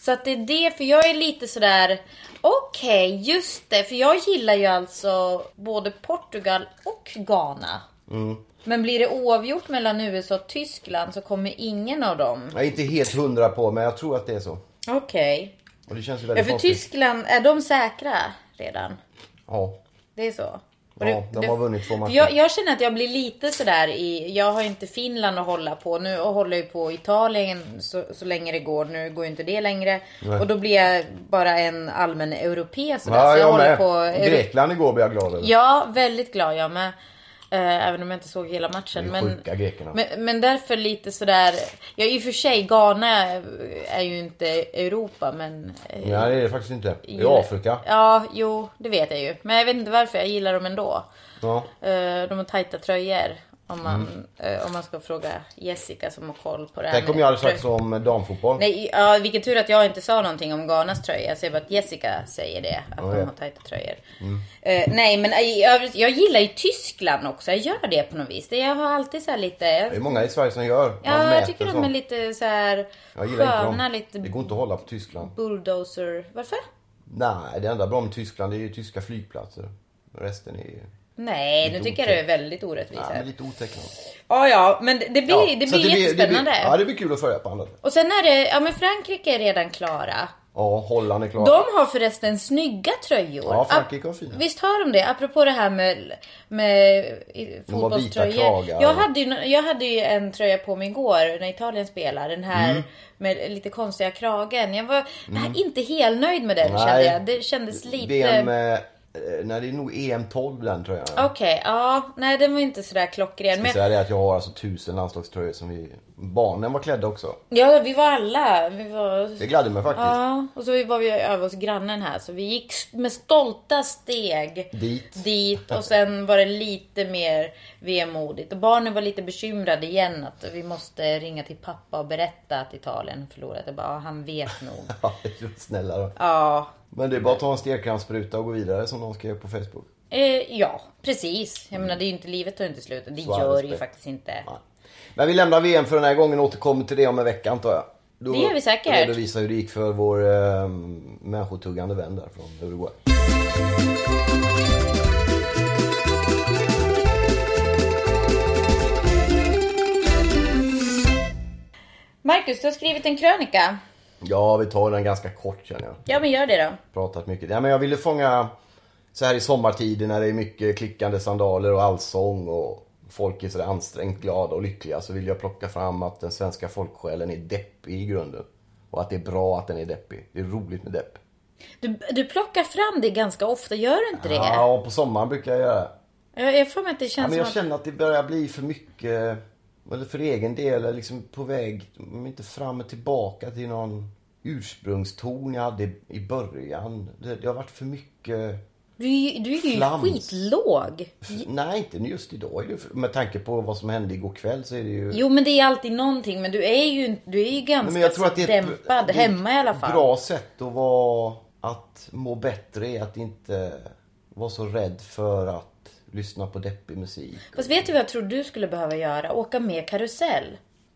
Speaker 1: Så att det är det, för jag är lite sådär... Okej, just det. För jag gillar ju alltså både Portugal och Ghana.
Speaker 2: Mm.
Speaker 1: Men blir det oavgjort mellan USA och Tyskland så kommer ingen av dem.
Speaker 2: Jag är inte helt hundra på men jag tror att det är så.
Speaker 1: Okej.
Speaker 2: Och det känns ju
Speaker 1: Ja,
Speaker 2: väldigt
Speaker 1: för
Speaker 2: konstigt.
Speaker 1: Tyskland, är de säkra redan?
Speaker 2: Ja.
Speaker 1: Det är så?
Speaker 2: Ja, de har vunnit två
Speaker 1: för
Speaker 2: matcher.
Speaker 1: Jag, jag känner att jag blir lite sådär i... Jag har ju inte Finland att hålla på. Nu håller jag ju på Italien så, så länge det går. Nu går ju inte det längre.
Speaker 2: Nej.
Speaker 1: Och då blir jag bara en allmän europé sådär.
Speaker 2: Ja,
Speaker 1: så
Speaker 2: jag
Speaker 1: håller
Speaker 2: med.
Speaker 1: på... Euro-
Speaker 2: Grekland igår blev jag glad över.
Speaker 1: ja, väldigt glad jag med. Eh, Även om jag inte såg hela matchen.
Speaker 2: De är
Speaker 1: Men,
Speaker 2: sjuka grekerna.
Speaker 1: men, men därför lite sådär... Ja, i och för sig, Ghana är ju inte Europa men... eh,
Speaker 2: Nej det är det faktiskt inte. Det
Speaker 1: gillar-
Speaker 2: är Afrika.
Speaker 1: Ja, jo, det vet jag ju. Men jag vet inte varför jag gillar dem ändå.
Speaker 2: Ja.
Speaker 1: Eh, De har tajta tröjor. Om man,
Speaker 2: Mm.
Speaker 1: eh, om man ska fråga Jessica som har koll på det här.
Speaker 2: Tänk om
Speaker 1: med
Speaker 2: jag hade sagt
Speaker 1: tröj-
Speaker 2: som damfotboll.
Speaker 1: Nej, ja, vilken tur att jag inte sa någonting om Ghanas tröja. Jag säger bara att Jessica säger det. Att
Speaker 2: Ja,
Speaker 1: de
Speaker 2: ja. Mm.
Speaker 1: har tajta tröjor. Eh, nej, men i övrigt, jag gillar ju Tyskland också. Jag gör det på något vis. Det- Jag har alltid så här lite...
Speaker 2: Det är många i Sverige som gör. Man
Speaker 1: Ja, jag
Speaker 2: mäter
Speaker 1: tycker de
Speaker 2: sånt.
Speaker 1: är lite så här
Speaker 2: Jag gillar inte
Speaker 1: sköna,
Speaker 2: dem.
Speaker 1: lite
Speaker 2: Det går inte att hålla på Tyskland.
Speaker 1: bulldozer... Varför?
Speaker 2: Nej, det enda bra med Tyskland är ju tyska flygplatser. Resten är ju...
Speaker 1: Nej, nu
Speaker 2: Lite
Speaker 1: tycker jag det är väldigt orättvist.
Speaker 2: Ja,
Speaker 1: här.
Speaker 2: men lite otäckt.
Speaker 1: Ja, ja, men det det blir,
Speaker 2: Ja,
Speaker 1: det blir
Speaker 2: så att
Speaker 1: jättespännande.
Speaker 2: Det blir, ja, det blir kul att följa på andra sätt.
Speaker 1: Och sen är det, ja men Frankrike är redan klara.
Speaker 2: Ja, Holland är klara.
Speaker 1: De har förresten snygga tröjor.
Speaker 2: Ja, Frankrike har fina.
Speaker 1: Visst har de det? Apropå det här med, med i-
Speaker 2: vita
Speaker 1: fotbollströjor.
Speaker 2: kragar.
Speaker 1: Jag hade, ju, jag hade ju en tröja på mig igår när Italien spelar. Den här
Speaker 2: Mm.
Speaker 1: med lite konstiga kragen. Jag var nej, inte helnöjd med den
Speaker 2: Nej.
Speaker 1: kände jag. Det kändes lite...
Speaker 2: VM... Eh, eh, nej, det är nog EM 12 den tror jag. Jag
Speaker 1: Okej, ja. Nej, den var inte sådär klockren.
Speaker 2: ska
Speaker 1: Men
Speaker 2: säga det att jag har alltså tusen landslagströjor som vi... Barnen var klädda också.
Speaker 1: ja, vi var alla. Vi var
Speaker 2: Det gladde mig faktiskt.
Speaker 1: Ja, och så var vi över hos grannen här så vi gick med stolta steg
Speaker 2: Dit.
Speaker 1: dit och sen var det lite mer vemodigt. Och barnen var lite bekymrade igen att vi måste ringa till pappa och berätta att Italien har förlorat. Jag bara, ja, han vet nog.
Speaker 2: Ja, det är snälla då.
Speaker 1: Ja,
Speaker 2: Men det är bara att ta en stelkrampsspruta och gå vidare som någon skrev på Facebook.
Speaker 1: eh, ja precis. Jag menar, det är ju inte, livet tar ju inte slut. Det
Speaker 2: Så är
Speaker 1: gör det ju
Speaker 2: respekt.
Speaker 1: faktiskt inte.
Speaker 2: Nej. Men vi lämnar VM för den här gången och återkommer till det om en vecka antar jag. Då
Speaker 1: Det gör vi säkert.
Speaker 2: redovisar hur det gick för vår eh, människotuggande vän där från Uruguay.
Speaker 1: Marcus, du har skrivit en krönika.
Speaker 2: Ja, vi tar den ganska kort känner jag.
Speaker 1: Ja, men gör det då.
Speaker 2: Pratat mycket. Ja, men jag ville fånga så här i sommartider när det är mycket klickande sandaler och allsång och folk är sådär ansträngt glada och lyckliga så vill jag plocka fram att den svenska folksjälen är deppig i grunden. Och att det är bra att den är deppig. Det är roligt med depp.
Speaker 1: Du, du plockar fram det ganska ofta, gör du inte det?
Speaker 2: Ja, och på sommaren brukar jag göra det.
Speaker 1: Jag, jag får mig att det
Speaker 2: Ja,
Speaker 1: känns
Speaker 2: men jag
Speaker 1: som att...
Speaker 2: känner att det börjar bli för mycket, eller för egen del, eller liksom på väg, om inte fram och tillbaka till någon ursprungston jag hade i början. Det, det har varit för mycket,
Speaker 1: Du, är ju- du är ju
Speaker 2: Flams.
Speaker 1: skitlåg.
Speaker 2: nej inte just idag är det för- med tanke på vad som hände igår kväll så är det ju
Speaker 1: Jo men det är alltid någonting men du är ju, du är ju ganska
Speaker 2: Nej, men jag tror att det är ett-
Speaker 1: dämpad
Speaker 2: det är ett
Speaker 1: hemma i alla fall.
Speaker 2: bra sätt att vara, att må bättre är att inte vara så rädd för att lyssna på deppig musik.
Speaker 1: Fast vet du vad jag tror du skulle behöva göra? Åka med karusell.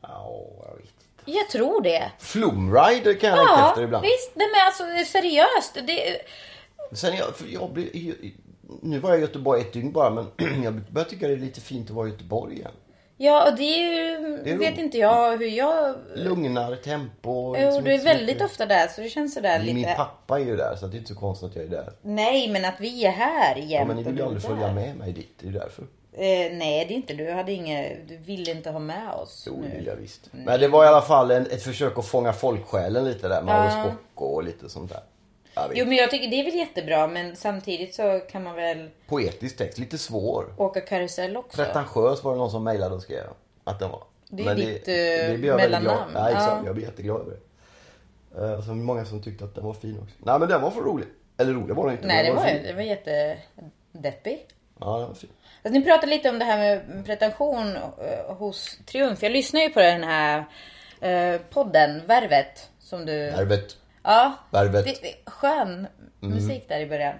Speaker 2: Ja, jag vet inte.
Speaker 1: Jag tror det.
Speaker 2: Flumrider kan jag längta
Speaker 1: Ja,
Speaker 2: efter ibland.
Speaker 1: visst. Nej men alltså seriöst. Det,
Speaker 2: Sen jag, för jag blir, nu var jag i Göteborg ett dygn bara men jag börjar tycka det är lite fint att vara i Göteborg igen.
Speaker 1: ja och det är ju...
Speaker 2: Det är
Speaker 1: vet
Speaker 2: roligt.
Speaker 1: inte jag hur jag...
Speaker 2: Lugnare tempo.
Speaker 1: Jo,
Speaker 2: liksom
Speaker 1: du är
Speaker 2: inte så
Speaker 1: väldigt
Speaker 2: mycket-
Speaker 1: ofta där så det känns sådär
Speaker 2: Min
Speaker 1: lite...
Speaker 2: pappa är ju där så det är inte så konstigt att jag är där.
Speaker 1: Nej men att vi är här
Speaker 2: Ja,
Speaker 1: jämt.
Speaker 2: men ni
Speaker 1: och
Speaker 2: vill
Speaker 1: du
Speaker 2: ju
Speaker 1: är
Speaker 2: aldrig
Speaker 1: där.
Speaker 2: följa med mig dit, det är ju därför.
Speaker 1: Eh, nej det är inte du. Du hade inget... Du ville inte ha med oss
Speaker 2: Jo, det
Speaker 1: nu.
Speaker 2: vill jag visst. Men det var i alla fall en, ett försök att fånga folksjälen lite där med Alice Bocco och lite sånt där. Jag vet.
Speaker 1: Jo men jag tycker det är väl jättebra men samtidigt så kan man väl
Speaker 2: Poetisk text, lite svår.
Speaker 1: åka karusell också.
Speaker 2: Pretentiös var det någon som mejlade och skrev att den var.
Speaker 1: Det är
Speaker 2: Men
Speaker 1: ditt, eh,
Speaker 2: blir jag väldigt glad-
Speaker 1: mellannamn.
Speaker 2: Nej, exakt.
Speaker 1: Ja.
Speaker 2: Jag blir jätteglad över det. Eh, och så många som tyckte att den var fin också. Nej men den var för rolig. Eller rolig var den inte.
Speaker 1: Nej
Speaker 2: men
Speaker 1: det
Speaker 2: den
Speaker 1: var,
Speaker 2: fin.
Speaker 1: det var jättedeppig.
Speaker 2: Ja den var fin.
Speaker 1: Alltså, ni pratade lite om det här med pretension eh, hos Triumf. Jag lyssnar ju på den här eh, podden Värvet. Som du...
Speaker 2: Värvet.
Speaker 1: Ja,
Speaker 2: Värvet.
Speaker 1: det, skön musik där i början.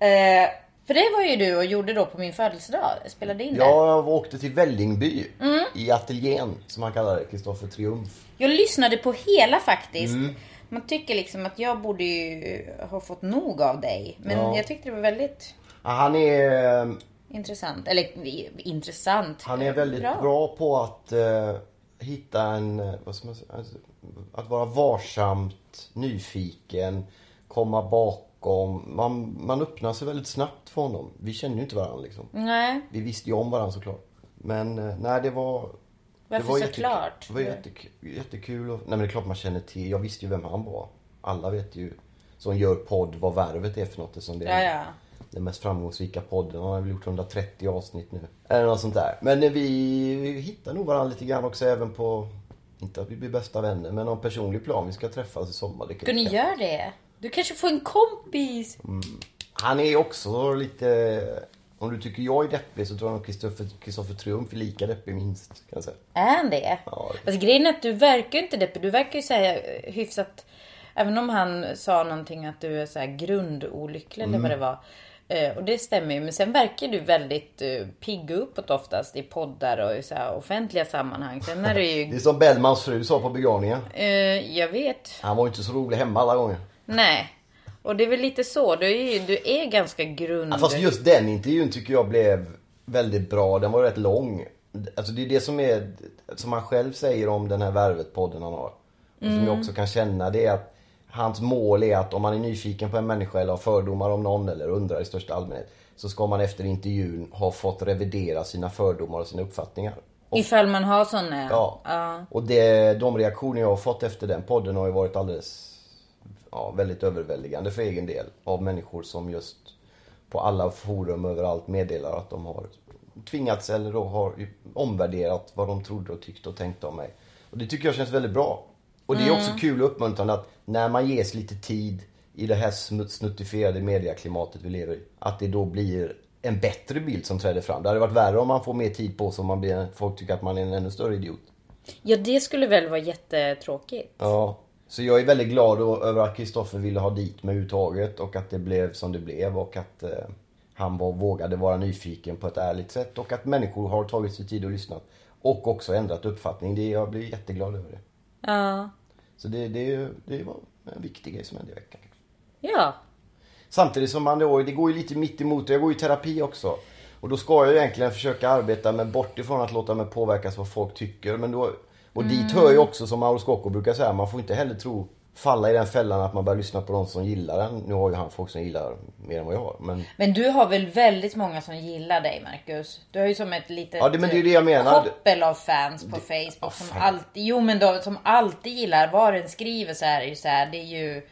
Speaker 1: Eh, för det var ju du och gjorde då på min födelsedag. Spelade in det.
Speaker 2: Jag åkte till Vällingby
Speaker 1: Mm.
Speaker 2: i ateljén som han kallar det, Kristoffer Triumf.
Speaker 1: Jag lyssnade på hela faktiskt.
Speaker 2: Mm.
Speaker 1: Man tycker liksom att jag borde ju ha fått nog av dig. Men
Speaker 2: Ja.
Speaker 1: jag tyckte det var väldigt
Speaker 2: Ja, Han är, eh,
Speaker 1: intressant. Eller i- intressant.
Speaker 2: han är väldigt bra, på att eh, hitta en, eh, vad ska man säga, alltså, att vara varsamt, nyfiken, komma bakom. Man, man öppnar sig väldigt snabbt för honom. Vi känner ju inte varandra liksom.
Speaker 1: Nej,
Speaker 2: Vi visste ju om varandra såklart. Men eh, nej, det var...
Speaker 1: Varför
Speaker 2: det var
Speaker 1: såklart?
Speaker 2: jättekul- Det var jättekul, jättekul och, Nej men det är klart man känner till. Jag visste ju vem han var. Alla vet ju som gör podd vad Värvet är för något. Eftersom det är
Speaker 1: Ja, ja.
Speaker 2: den mest framgångsrika podden. Han har väl gjort 130 avsnitt nu. Eller något sånt där. Men eh, vi, vi hittar nog varandra lite grann också även på... Inte att vi blir bästa vänner men någon personlig plan. Vi ska träffas i sommar. Det kan-
Speaker 1: kunde ni göra det? Du kanske får en kompis?
Speaker 2: Han är också lite... Om du tycker jag är deppig så tror jag nog Kristoffer Kristoffer Triumf är lika deppig minst. Kan jag säga.
Speaker 1: Är han det?
Speaker 2: Ja.
Speaker 1: Fast grejen är att du verkar ju inte deppig. Du verkar ju säga hyfsat... Även om han sa någonting att du är så här grundolycklig eller
Speaker 2: Mm.
Speaker 1: vad det var. Eh, Och det stämmer ju. Men sen verkar du väldigt eh, pigg och uppåt oftast i poddar och i så här offentliga sammanhang. Sen är det
Speaker 2: Det
Speaker 1: ju...
Speaker 2: är som Bellmans fru sa på begravningen.
Speaker 1: eh, jag vet.
Speaker 2: Han var ju inte så rolig hemma alla gånger.
Speaker 1: Nej. Och det är väl lite så. Du är, ju, du är ganska grund...
Speaker 2: Ja, Fast just den intervjun tycker jag blev väldigt bra. Den var rätt lång. Alltså det är det som är, som han själv säger om den här Värvet-podden han har. Och som jag också kan känna det är att hans mål är att om man är nyfiken på en människa eller har fördomar om någon eller undrar i största allmänhet. Så ska man efter intervjun ha fått revidera sina fördomar och sina uppfattningar.
Speaker 1: Ifall man har såna.
Speaker 2: Ja. Och det, de reaktioner jag har fått efter den podden har ju varit alldeles ja, väldigt överväldigande för egen del. Av människor som just på alla forum överallt meddelar att de har tvingats eller då har ju omvärderat vad de trodde och tyckte och tänkte om mig. Och det tycker jag känns väldigt bra. Och det är också kul och uppmuntrande att när man ges lite tid i det här smu- snuttifierade mediaklimatet vi lever i. Att det då blir en bättre bild som träder fram. Det hade varit värre om man får mer tid på sig och man blir, folk tycker att man är en ännu större idiot.
Speaker 1: ja, det skulle väl vara jättetråkigt.
Speaker 2: Ja. Så jag är väldigt glad då över att Kristoffer ville ha dit mig överhuvudtaget och att det blev som det blev och att eh, han var, vågade vara nyfiken på ett ärligt sätt och att människor har tagit sig tid och lyssnat. Och också ändrat uppfattning. Det, jag blir jätteglad över det.
Speaker 1: Ja.
Speaker 2: Så det, det, det var en viktig grej som hände i veckan.
Speaker 1: Ja.
Speaker 2: Samtidigt som man då, det går ju lite mitt emot det. Jag går ju i terapi också. Och då ska jag ju egentligen försöka arbeta med bort ifrån att låta mig påverkas vad folk tycker. Men då, och dit hör ju också som Mauro Scocco brukar säga, man får inte heller tro falla i den fällan att man börjar lyssna på de som gillar den. Nu har ju han folk som gillar mer än vad jag har. Men,
Speaker 1: Men du har väl väldigt många som gillar dig Marcus? Du har ju som ett litet eh,
Speaker 2: Ja, det- men det är ju det jag menar.
Speaker 1: koppel av fans på Facebook
Speaker 2: ja,
Speaker 1: som
Speaker 2: fan.
Speaker 1: alltid, jo men då, som alltid gillar vad den skriver så här, är ju så här det är ju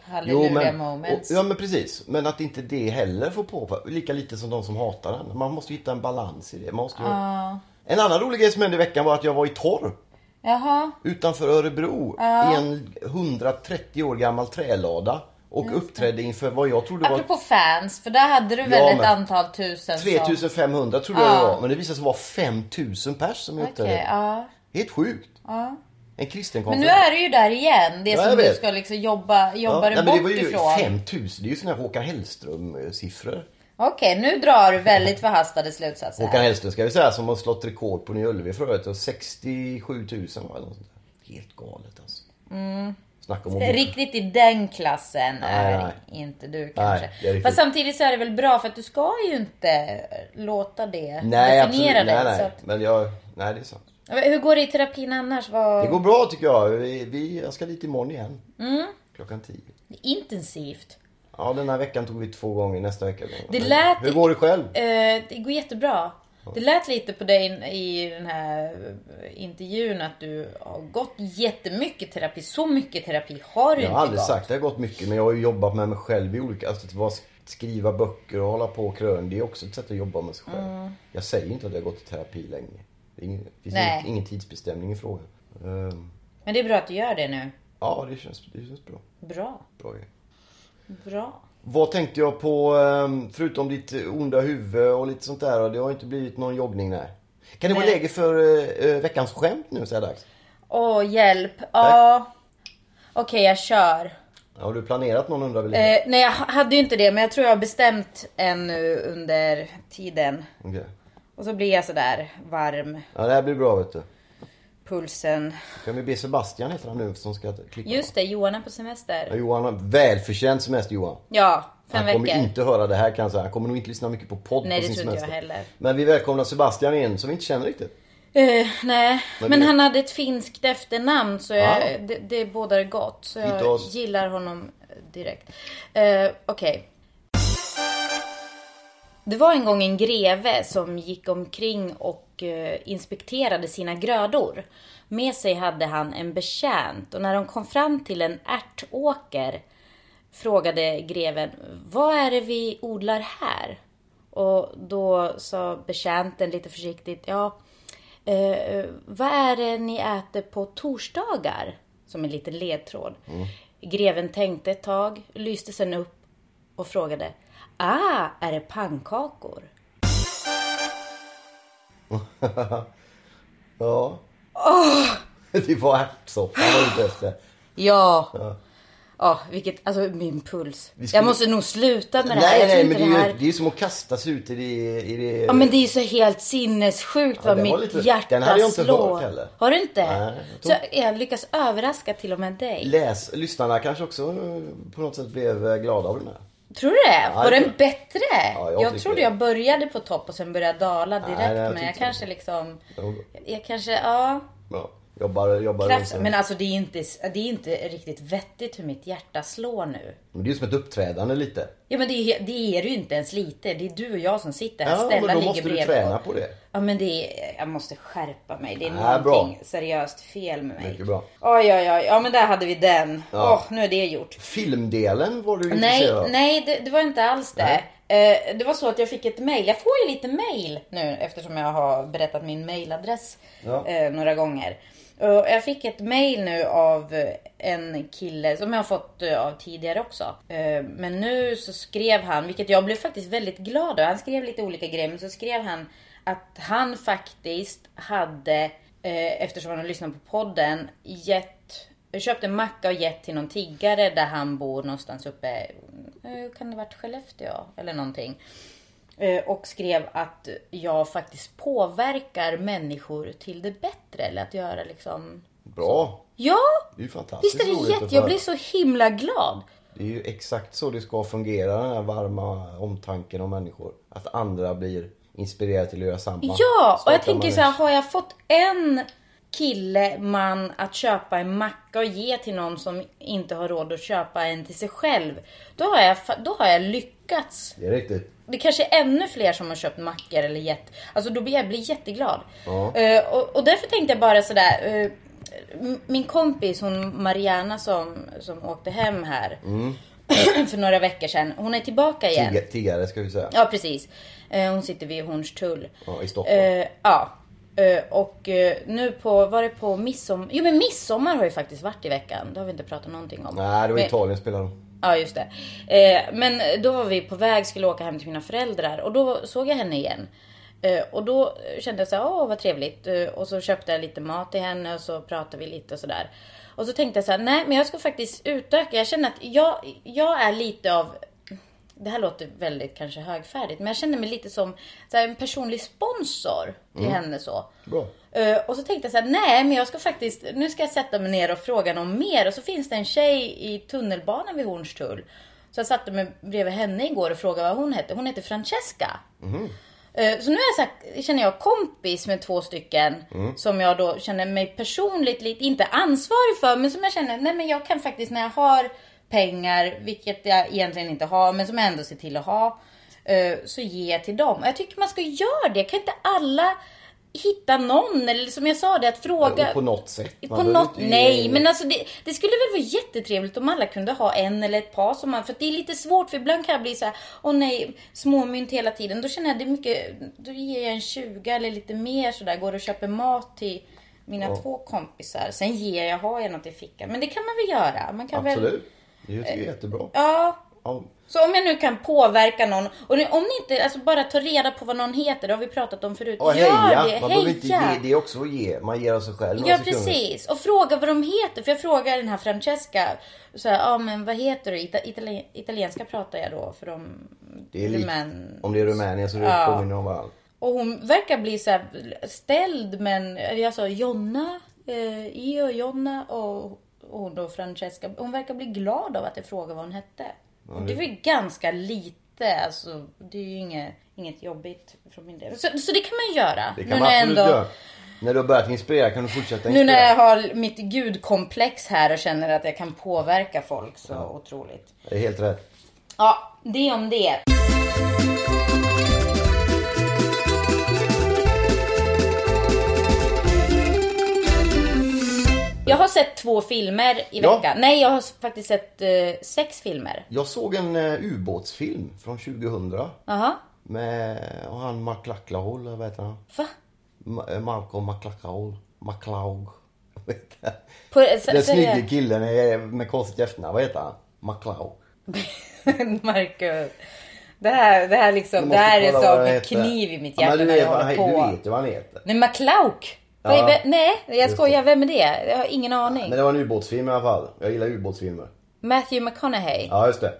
Speaker 1: halleluja moments.
Speaker 2: och, ja men precis. Men att inte det heller får påverka. Lika lite som de som hatar den. Man måste ju hitta en balans i det. Man måste ju... En annan rolig grej som hände i veckan var att jag var i Torp.
Speaker 1: Jaha,
Speaker 2: utanför Örebro i en 130 år gammal trälada och uppträdde inför vad jag trodde var
Speaker 1: apropå fans, för där hade du väl
Speaker 2: Ja,
Speaker 1: ett
Speaker 2: men-
Speaker 1: antal tusen som...
Speaker 2: 3500 trodde jag det var men det visade sig vara 5000 pers som uppträdde.
Speaker 1: Okej, ja.
Speaker 2: Helt sjukt. En kristen
Speaker 1: Men
Speaker 2: konferens.
Speaker 1: nu är du ju där igen, det
Speaker 2: Ja, jag
Speaker 1: som du
Speaker 2: vet.
Speaker 1: ska liksom jobba, jobba dig
Speaker 2: nej, men
Speaker 1: bort
Speaker 2: det var ju
Speaker 1: ifrån.
Speaker 2: 5000, det är ju såna här Håkan Hellström siffror.
Speaker 1: Okej, nu drar du väldigt förhastade slutsatser.
Speaker 2: Håkan
Speaker 1: här.
Speaker 2: Hellström ska vi säga som har slått rekord på Nya Ullevi för övrigt. och 67 000 var det något sånt där. Helt galet alltså. Snacka om att...
Speaker 1: Mm. Riktigt i den klassen är
Speaker 2: nej.
Speaker 1: inte du kanske.
Speaker 2: det är riktigt.
Speaker 1: Fast samtidigt så är det väl bra för att du ska ju inte låta det
Speaker 2: Nej absolut,
Speaker 1: definiera
Speaker 2: nej
Speaker 1: dig.
Speaker 2: nej.
Speaker 1: Så att,
Speaker 2: Men jag, nej det är sant.
Speaker 1: hur går det i terapin annars? Vad
Speaker 2: Det går bra tycker jag. Vi, vi, jag ska dit imorgon igen.
Speaker 1: Mm.
Speaker 2: Klockan 10.
Speaker 1: Intensivt.
Speaker 2: Ja, den här veckan tog vi två gånger. Nästa vecka.
Speaker 1: Det
Speaker 2: Men
Speaker 1: lät-
Speaker 2: Hur går det själv?
Speaker 1: Eh, det går jättebra. Det lät lite på dig i den här eh, intervjun att du har gått jättemycket terapi. Så mycket terapi har du
Speaker 2: Jag
Speaker 1: inte
Speaker 2: har aldrig
Speaker 1: gått.
Speaker 2: sagt det har gått mycket, men jag har ju jobbat med mig själv i olika... Alltså, att vara, skriva böcker och hålla på och krön. Det är också ett sätt att jobba med sig själv.
Speaker 1: Mm.
Speaker 2: Jag säger inte att jag har gått i terapi länge. Det är ingen, det finns
Speaker 1: Nej.
Speaker 2: ingen, ingen tidsbestämning i frågan. Ehm,
Speaker 1: Men det är bra att du gör det nu.
Speaker 2: ja, det känns, det känns bra.
Speaker 1: Bra.
Speaker 2: bra grej.
Speaker 1: Bra.
Speaker 2: Vad tänkte jag på, ehm, förutom ditt onda huvud och lite sånt där? Det har inte blivit någon joggning, nej. Kan det vara läge för eh, eh, veckans skämt nu så här dags?
Speaker 1: Åh, hjälp. Ja. Okej, jag kör.
Speaker 2: Har du planerat någon undrar väl?
Speaker 1: Eh, nej, jag hade ju inte det, men jag tror jag har bestämt en nu under tiden.
Speaker 2: Okej.
Speaker 1: Och så blir jag sådär varm,
Speaker 2: Ja, det här blir bra vet du.
Speaker 1: pulsen.
Speaker 2: Kan vi be Sebastian heter han nu som ska klicka?
Speaker 1: Just det, Johan är på
Speaker 2: Ja,
Speaker 1: semester.
Speaker 2: Johan har välförtjänt semester Johan.
Speaker 1: Ja, fem
Speaker 2: Han kommer
Speaker 1: veckor.
Speaker 2: inte höra det här kan jag säga. Han kommer nog inte lyssna mycket på podd
Speaker 1: Nej,
Speaker 2: på
Speaker 1: det
Speaker 2: sin
Speaker 1: tror inte jag
Speaker 2: semester.
Speaker 1: heller.
Speaker 2: Men vi välkomnar Sebastian in som vi inte känner riktigt.
Speaker 1: Eh, nej, men,
Speaker 2: det-
Speaker 1: han hade ett finskt efternamn så jag,
Speaker 2: Ah.
Speaker 1: det, det bådar gott. Så
Speaker 2: Inte
Speaker 1: jag
Speaker 2: oss.
Speaker 1: gillar honom direkt. Eh, Okej. Det var en gång en greve som gick omkring och eh, inspekterade sina grödor. Med sig hade han en betjänt och när de kom fram till en ärtåker frågade greven Vad är det vi odlar här? Och då sa betjänten lite försiktigt Ja, eh, vad är det ni äter på torsdagar? Som en liten ledtråd.
Speaker 2: Mm.
Speaker 1: Greven tänkte ett tag, lyste sen upp och frågade Ah, är det pannkakor?
Speaker 2: Ja. Det var ärtsoppa han var ute efter.
Speaker 1: Ja. Ja, vilket, alltså min puls.
Speaker 2: skulle-
Speaker 1: Jag måste nog sluta med det här.
Speaker 2: Nej
Speaker 1: jag
Speaker 2: nej
Speaker 1: tror
Speaker 2: men
Speaker 1: inte
Speaker 2: det är,
Speaker 1: här...
Speaker 2: ju, det är ju som att kastas ut i det... I det...
Speaker 1: Ja men det är ju så helt sinnessjukt vad
Speaker 2: den Mm. var
Speaker 1: mitt
Speaker 2: lite-
Speaker 1: hjärta
Speaker 2: den hade jag inte
Speaker 1: slår.
Speaker 2: hört heller.
Speaker 1: Har du inte?
Speaker 2: Nej, jag
Speaker 1: så
Speaker 2: tror-
Speaker 1: jag lyckas överraska till och med dig.
Speaker 2: Läs, lyssnarna kanske också eh, på något sätt blev eh, glada av den här.
Speaker 1: Tror du det?
Speaker 2: Ja,
Speaker 1: Var
Speaker 2: jag-
Speaker 1: den bättre? jag
Speaker 2: Ja, jag
Speaker 1: trodde
Speaker 2: tycker det.
Speaker 1: jag började på topp och sen började dala direkt.
Speaker 2: Nej, jag
Speaker 1: men
Speaker 2: tyckte
Speaker 1: jag
Speaker 2: det.
Speaker 1: kanske liksom...
Speaker 2: Det var bra.
Speaker 1: Jag kanske, ja.
Speaker 2: Ja, jobbar, jobbar
Speaker 1: Kraft,
Speaker 2: sen.
Speaker 1: men alltså det är, inte, det är inte riktigt vettigt hur mitt hjärta slår nu.
Speaker 2: Men det är ju som ett uppträdande lite.
Speaker 1: Ja men det är, det är det ju inte ens lite. Det är du och jag som sitter här.
Speaker 2: Ja,
Speaker 1: Stella
Speaker 2: men då
Speaker 1: ligger
Speaker 2: måste du
Speaker 1: bredvid.
Speaker 2: träna på det.
Speaker 1: Ja men det är, jag måste skärpa mig. Det är
Speaker 2: Ja, Äh, bra.
Speaker 1: någonting seriöst fel med mig.
Speaker 2: Mycket bra.
Speaker 1: Oj oj oj. Ja men där hade vi den. Åh,
Speaker 2: Ja.
Speaker 1: nu är det gjort.
Speaker 2: Filmdelen var du
Speaker 1: Nej,
Speaker 2: intresserad av.
Speaker 1: nej det, det var inte alls det. Eh, det var så att jag fick ett mejl. Jag får ju lite mejl nu eftersom jag har berättat min mejladress
Speaker 2: Ja.
Speaker 1: eh, några gånger. Och jag fick ett mejl nu av eh, en kille som jag har fått eh, av tidigare också. Eh, men nu så skrev han, vilket jag blev faktiskt väldigt glad över. Han skrev lite olika grejer men så skrev han att han faktiskt hade, eh, eftersom han har lyssnat på podden, gett jag köpte en macka och gett till någon tiggare där han bor någonstans uppe, eh, kan det varit Skellefteå eller någonting. Eh, Och skrev att jag faktiskt påverkar människor till det bättre. Eller att göra liksom...
Speaker 2: Bra.
Speaker 1: Ja!
Speaker 2: Det är ju fantastiskt
Speaker 1: Visst är det
Speaker 2: roligt att
Speaker 1: jätte... Jag
Speaker 2: höra.
Speaker 1: blir så himla glad.
Speaker 2: Det är ju exakt så det ska fungera, den här varma omtanken om människor. Att andra blir inspirerade till att göra samma.
Speaker 1: Ja! Och
Speaker 2: Skapar
Speaker 1: jag tänker
Speaker 2: man
Speaker 1: så här, har jag fått en kille, man att köpa en macka och ge till någon som inte har råd att köpa en till sig själv. Då har jag, fa- då har jag lyckats.
Speaker 2: Det är riktigt.
Speaker 1: Det kanske är ännu fler som har köpt mackor eller gett. Alltså då blir jag blir jätteglad.
Speaker 2: Ja.
Speaker 1: Eh, och, och därför tänkte jag bara sådär. eh, m- min kompis, hon Mariana som, som åkte hem här
Speaker 2: Mm.
Speaker 1: för några veckor sedan. Hon är tillbaka igen.
Speaker 2: Tigga- Tiggare ska vi säga.
Speaker 1: Ja precis. Eh, hon sitter vid Hornstull.
Speaker 2: Ja, i Stockholm.
Speaker 1: Eh, ja. Eh, och eh, nu på, var det på midsommar? Jo men midsommar har ju faktiskt varit i veckan. Det har vi inte pratat någonting om.
Speaker 2: Nej, det var
Speaker 1: Men-
Speaker 2: Italien spelar de.
Speaker 1: Ja just det. Eh, men då var vi på väg, skulle åka hem till mina föräldrar och då såg jag henne igen. Eh, och då kände jag så här, åh vad trevligt. Eh, och så köpte jag lite mat till henne och så pratade vi lite och sådär. Och så tänkte jag så här, nej men jag ska faktiskt utöka. Jag känner att jag, jag är lite av det här låter väldigt kanske högfärdigt, men jag kände mig lite som så här, en personlig sponsor till henne så.
Speaker 2: Bra.
Speaker 1: Eh, och så tänkte jag så här, nej men jag ska faktiskt, nu ska jag sätta mig ner och fråga någon mer. Och så finns det en tjej i tunnelbanan vid Hornstull. Så jag satte mig bredvid henne igår och frågade vad hon hette. Hon heter Francesca. Eh, Så nu är jag så här, känner jag kompis med två stycken
Speaker 2: Mm.
Speaker 1: som jag då känner mig personligt lite, inte ansvarig för, men som jag känner, nej men jag kan faktiskt när jag har pengar, vilket jag egentligen inte har, men som jag ändå ser till att ha, eh, så ger jag till dem. Jag tycker man ska göra det. Kan inte alla hitta någon, eller som jag sa det, att fråga...
Speaker 2: Och på något sätt. Man
Speaker 1: eh, På
Speaker 2: behöver
Speaker 1: något,
Speaker 2: inte-
Speaker 1: nej, men alltså det, det skulle väl vara jättetrevligt om alla kunde ha en eller ett par som man, för att det är lite svårt för ibland kan jag bli så här, åh nej, småmynt hela tiden. Då känner jag det är mycket, då ger jag en 20 eller lite mer sådär, går och köper mat till mina två kompisar. Sen ger jag, har jag något i fickan. Men det kan man väl göra? Man kan väl,
Speaker 2: Absolut. Det är ju- det är jättebra.
Speaker 1: ja,
Speaker 2: ja,
Speaker 1: Så om jag nu kan påverka någon, och ni- om ni inte, alltså bara ta reda på vad någon heter, det har vi pratat om förut.
Speaker 2: och
Speaker 1: Gör
Speaker 2: heja.
Speaker 1: det,
Speaker 2: Man behöver inte ge, det är också att ge. Man ger av sig själv några
Speaker 1: Ja
Speaker 2: sekunder.
Speaker 1: precis, och fråga vad de heter. För jag frågar den här Francesca, så här, ja men vad heter du? Ita- itali- italienska pratar jag då för de
Speaker 2: Det är lik-
Speaker 1: rumän-
Speaker 2: Om det är Rumänien så det
Speaker 1: Ja.
Speaker 2: påminner om varandra.
Speaker 1: Och hon verkar bli så här ställd men jag sa Jonna, eh, Io, Jonna och och hon då Francesca. Hon verkar bli glad av att jag frågar vad hon hette. Och det var ju ganska lite alltså. Det är ju inget, inget jobbigt från min del. Så, så det kan man göra.
Speaker 2: Det kan
Speaker 1: nu
Speaker 2: man
Speaker 1: när jag
Speaker 2: absolut
Speaker 1: ändå,
Speaker 2: göra. När du har börjat inspirera kan du fortsätta
Speaker 1: Nu
Speaker 2: inspirera.
Speaker 1: när jag har mitt gudkomplex här och känner att jag kan påverka folk så otroligt.
Speaker 2: Det är helt rätt.
Speaker 1: Ja, det om det. Jag har sett två filmer i
Speaker 2: Ja.
Speaker 1: veckan. Nej, jag har s- faktiskt sett eh, sex filmer.
Speaker 2: Jag såg en eh, ubåtsfilm från 2000.
Speaker 1: Jaha,
Speaker 2: Med och han McLachlahol, eller vad heter han?
Speaker 1: va?
Speaker 2: Ma- eh, Malcolm McLachlahol. McLaug. Vad heter han?
Speaker 1: På, eh, s-
Speaker 2: Den
Speaker 1: säger jag-
Speaker 2: snygga killen är- med konstigt efternamn. Vad heter han? McLaug.
Speaker 1: Marcus. Det här, det här, liksom, det här är
Speaker 2: Måste kolla vad han
Speaker 1: som en
Speaker 2: heter.
Speaker 1: kniv i mitt
Speaker 2: Ja,
Speaker 1: hjärta
Speaker 2: men du
Speaker 1: när
Speaker 2: vet
Speaker 1: jag
Speaker 2: vad
Speaker 1: håller
Speaker 2: han-
Speaker 1: på.
Speaker 2: Du vet ju vad han heter.
Speaker 1: Nej, McClauk. Vad
Speaker 2: Ja.
Speaker 1: är, vem- nej, jag
Speaker 2: det.
Speaker 1: skojar. Vem är det? Jag har ingen aning.
Speaker 2: Men det var en ubåtsfilm i alla fall. Jag gillar ubåtsfilmer.
Speaker 1: Matthew McConaughey.
Speaker 2: Ja, just det.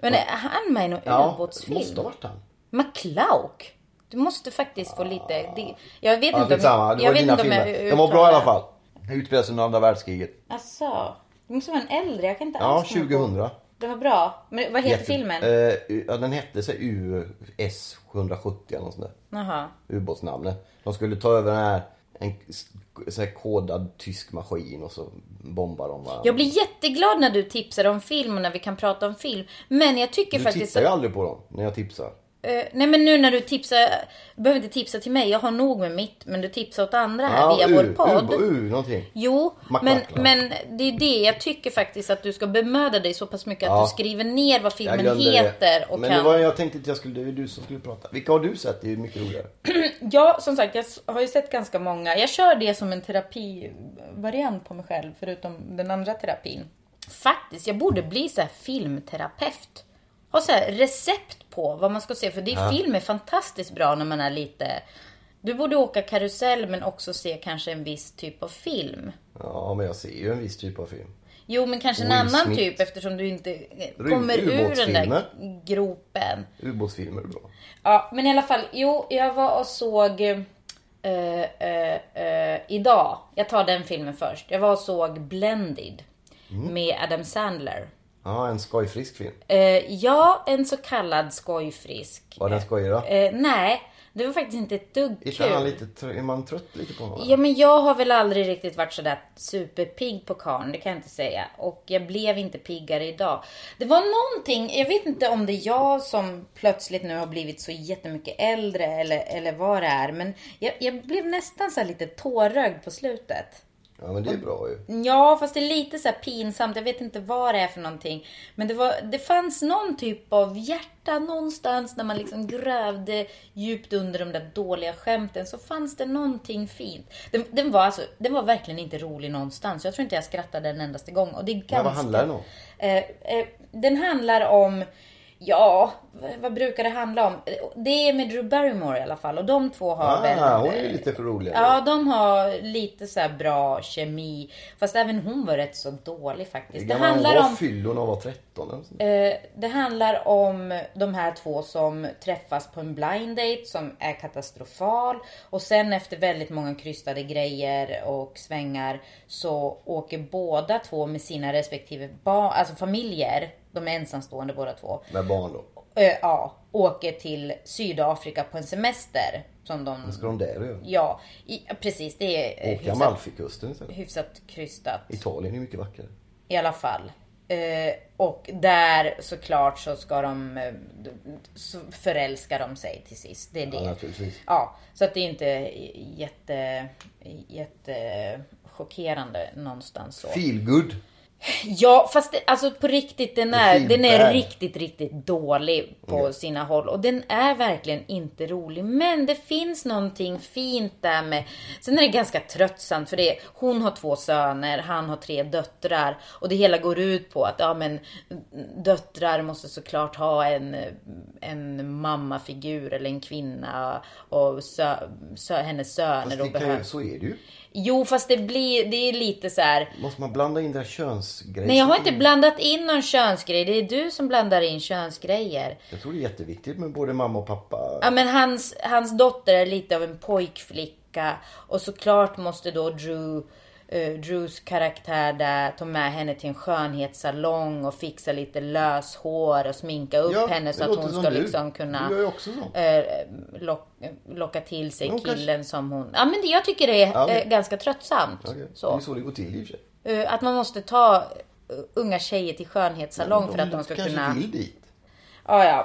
Speaker 1: Men är han med i någon
Speaker 2: Ja, måste ha
Speaker 1: ubåtsfilm?
Speaker 2: varit han.
Speaker 1: McClauk? Du måste faktiskt få lite... Det, jag vet inte
Speaker 2: Ja,
Speaker 1: om...
Speaker 2: skitsamma. Det
Speaker 1: jag
Speaker 2: var
Speaker 1: vet
Speaker 2: dina
Speaker 1: inte om jag
Speaker 2: filmer. De var
Speaker 1: uttalar-
Speaker 2: bra i alla fall. Det utspelas under andra världskriget.
Speaker 1: Asså. Alltså, Det måste vara en äldre. Jag kan inte
Speaker 2: Ja,
Speaker 1: alls komma ihåg.
Speaker 2: 2000.
Speaker 1: Det var bra. Men vad heter filmen?
Speaker 2: Eh, ja, den hette sig US 770 eller något sånt där.
Speaker 1: Jaha.
Speaker 2: Ubåtsnamnet. De skulle ta över den här, en s- så här kodad tysk maskin och så bombar de varandra.
Speaker 1: Jag blir jätteglad när du tipsar om film och när vi kan prata om film. Men jag tycker
Speaker 2: du
Speaker 1: faktiskt...
Speaker 2: tittar ju aldrig på dem när jag tipsar.
Speaker 1: Eh, nej men nu när du tipsar, du behöver inte tipsa till mig, jag har nog med mitt. Men du tipsar åt andra här via
Speaker 2: u,
Speaker 1: vår podd.
Speaker 2: U, u, någonting.
Speaker 1: Jo, men,
Speaker 2: Mackmackla.
Speaker 1: men det är det jag tycker faktiskt att du ska bemöda dig så pass mycket
Speaker 2: Ja.
Speaker 1: att du skriver ner vad
Speaker 2: Jag
Speaker 1: filmen
Speaker 2: glömde
Speaker 1: heter.
Speaker 2: det.
Speaker 1: Och
Speaker 2: Men
Speaker 1: kan...
Speaker 2: det var, jag tänkte att jag skulle, det är ju du som skulle prata. Vilka har du sett? Det är ju mycket roligare.
Speaker 1: Ja, som sagt, jag s- har ju sett ganska många. Jag kör det som en terapivariant på mig själv, förutom den andra terapin. Faktiskt, jag borde bli så här filmterapeut. Ha så här recept på vad man ska se, för det, film är fantastiskt bra när man är lite... Du borde åka karusell men också se kanske en viss typ av film.
Speaker 2: Ja, men jag ser ju en viss typ av film.
Speaker 1: Jo, men kanske en
Speaker 2: Will
Speaker 1: annan
Speaker 2: Smith.
Speaker 1: typ eftersom du inte eh, kommer ur den där
Speaker 2: ubåtsfilmer.
Speaker 1: gropen.
Speaker 2: Ubåtsfilmer är bra.
Speaker 1: Ja, men i alla fall. Jo, jag var och såg eh, eh, eh, idag. Jag tar den filmen först. Jag var och såg Blended
Speaker 2: Mm.
Speaker 1: med Adam Sandler.
Speaker 2: Ja, en skojfrisk film.
Speaker 1: Eh, ja, en så kallad skojfrisk.
Speaker 2: Var den skojig då?
Speaker 1: Eh, nej, det var faktiskt inte ett dugg
Speaker 2: Är,
Speaker 1: kul.
Speaker 2: han lite, trö- är man trött lite på honom?
Speaker 1: Ja men jag har väl aldrig riktigt varit sådär superpigg på karln, det kan jag inte säga. Och jag blev inte piggare idag. Det var någonting, jag vet inte om det är jag som plötsligt nu har blivit så jättemycket äldre eller, eller vad det är. Men jag, jag blev nästan så här lite tårögd på slutet.
Speaker 2: Ja, men det är bra ju.
Speaker 1: Ja, fast det är lite så här pinsamt. Jag vet inte vad det är för någonting. Men det, var, det fanns någon typ av hjärta någonstans när man liksom grävde djupt under de där dåliga skämten. Så fanns det någonting fint. Den, den, var, alltså, den var verkligen inte rolig någonstans. Jag tror inte jag skrattade en endaste gång. Och det är ganska...
Speaker 2: Men vad handlar den om?
Speaker 1: Eh, eh, den handlar om, ja, v- vad brukar det handla om? Eh, Det är med Drew Barrymore i alla fall. Och de två har väl...
Speaker 2: Ah, hon är ju lite för rolig.
Speaker 1: Ja, de har lite så här bra kemi. Fast även hon var rätt så dålig faktiskt. Det
Speaker 2: Gammal hon
Speaker 1: handlar,
Speaker 2: var
Speaker 1: om,
Speaker 2: fyllo när hon var 13 eller sånt.
Speaker 1: eh, det handlar om de här två som träffas på en blind date som är katastrofal. Och sen efter väldigt många krystade grejer och svängar så åker båda två med sina respektive barn, alltså familjer. De är ensamstående båda två
Speaker 2: Med barn då.
Speaker 1: eh, ja, åker till Sydafrika på en semester. Som de...
Speaker 2: Ska de där och göra?
Speaker 1: Ja, i, precis. Det är eh,
Speaker 2: Åka
Speaker 1: hyfsat,
Speaker 2: Amalfikusten istället.
Speaker 1: hyfsat krystat
Speaker 2: Italien är mycket vackrare.
Speaker 1: i alla fall. Eh, och där såklart så ska de, eh, d- så förälskar de sig till sist. Det är det.
Speaker 2: Ja, naturligtvis.
Speaker 1: Ja, så att det är inte jätte, jätte chockerande någonstans så.
Speaker 2: Feel good.
Speaker 1: Ja, fast det, alltså på riktigt, den är, den är
Speaker 2: Feedback.
Speaker 1: riktigt, riktigt dålig på sina håll. Och den är verkligen inte rolig. Men det finns någonting fint där med... Sen är det ganska tröttsamt för det, hon har två söner, han har tre döttrar. Och det hela går ut på att ja, men, döttrar måste såklart ha en, en mammafigur eller en kvinna. Och sö, sö, hennes
Speaker 2: Fast
Speaker 1: söner.
Speaker 2: det
Speaker 1: Och
Speaker 2: kan ju,
Speaker 1: behöver...
Speaker 2: så är det ju.
Speaker 1: Jo, fast det blir, det är lite så här...
Speaker 2: Måste man blanda in det här könsgrejen?
Speaker 1: Nej, jag har inte blandat in någon könsgrej. Det är du som blandar in könsgrejer.
Speaker 2: Jag tror det är jätteviktigt med både mamma och pappa.
Speaker 1: Ja, men hans, hans dotter är lite av en pojkflicka. Och såklart måste då Drew, eh, Drews karaktär där ta med henne till en skönhetssalong och fixa lite löshår och sminka upp
Speaker 2: Ja,
Speaker 1: henne så
Speaker 2: det
Speaker 1: att
Speaker 2: låter
Speaker 1: hon
Speaker 2: som
Speaker 1: ska
Speaker 2: du.
Speaker 1: liksom kunna
Speaker 2: Du gör ju också så.
Speaker 1: eh, lock, locka till sig
Speaker 2: Jo, kanske.
Speaker 1: killen som hon... Ja, men det, jag tycker det är
Speaker 2: Ja, okej.
Speaker 1: eh, ganska tröttsamt.
Speaker 2: Okej.
Speaker 1: Så.
Speaker 2: Det är så det går till i och för sig.
Speaker 1: Eh, Att man måste ta eh, unga tjejer till skönhetssalong för att de ska
Speaker 2: kanske
Speaker 1: kunna...
Speaker 2: vill dit.
Speaker 1: Ja, ja.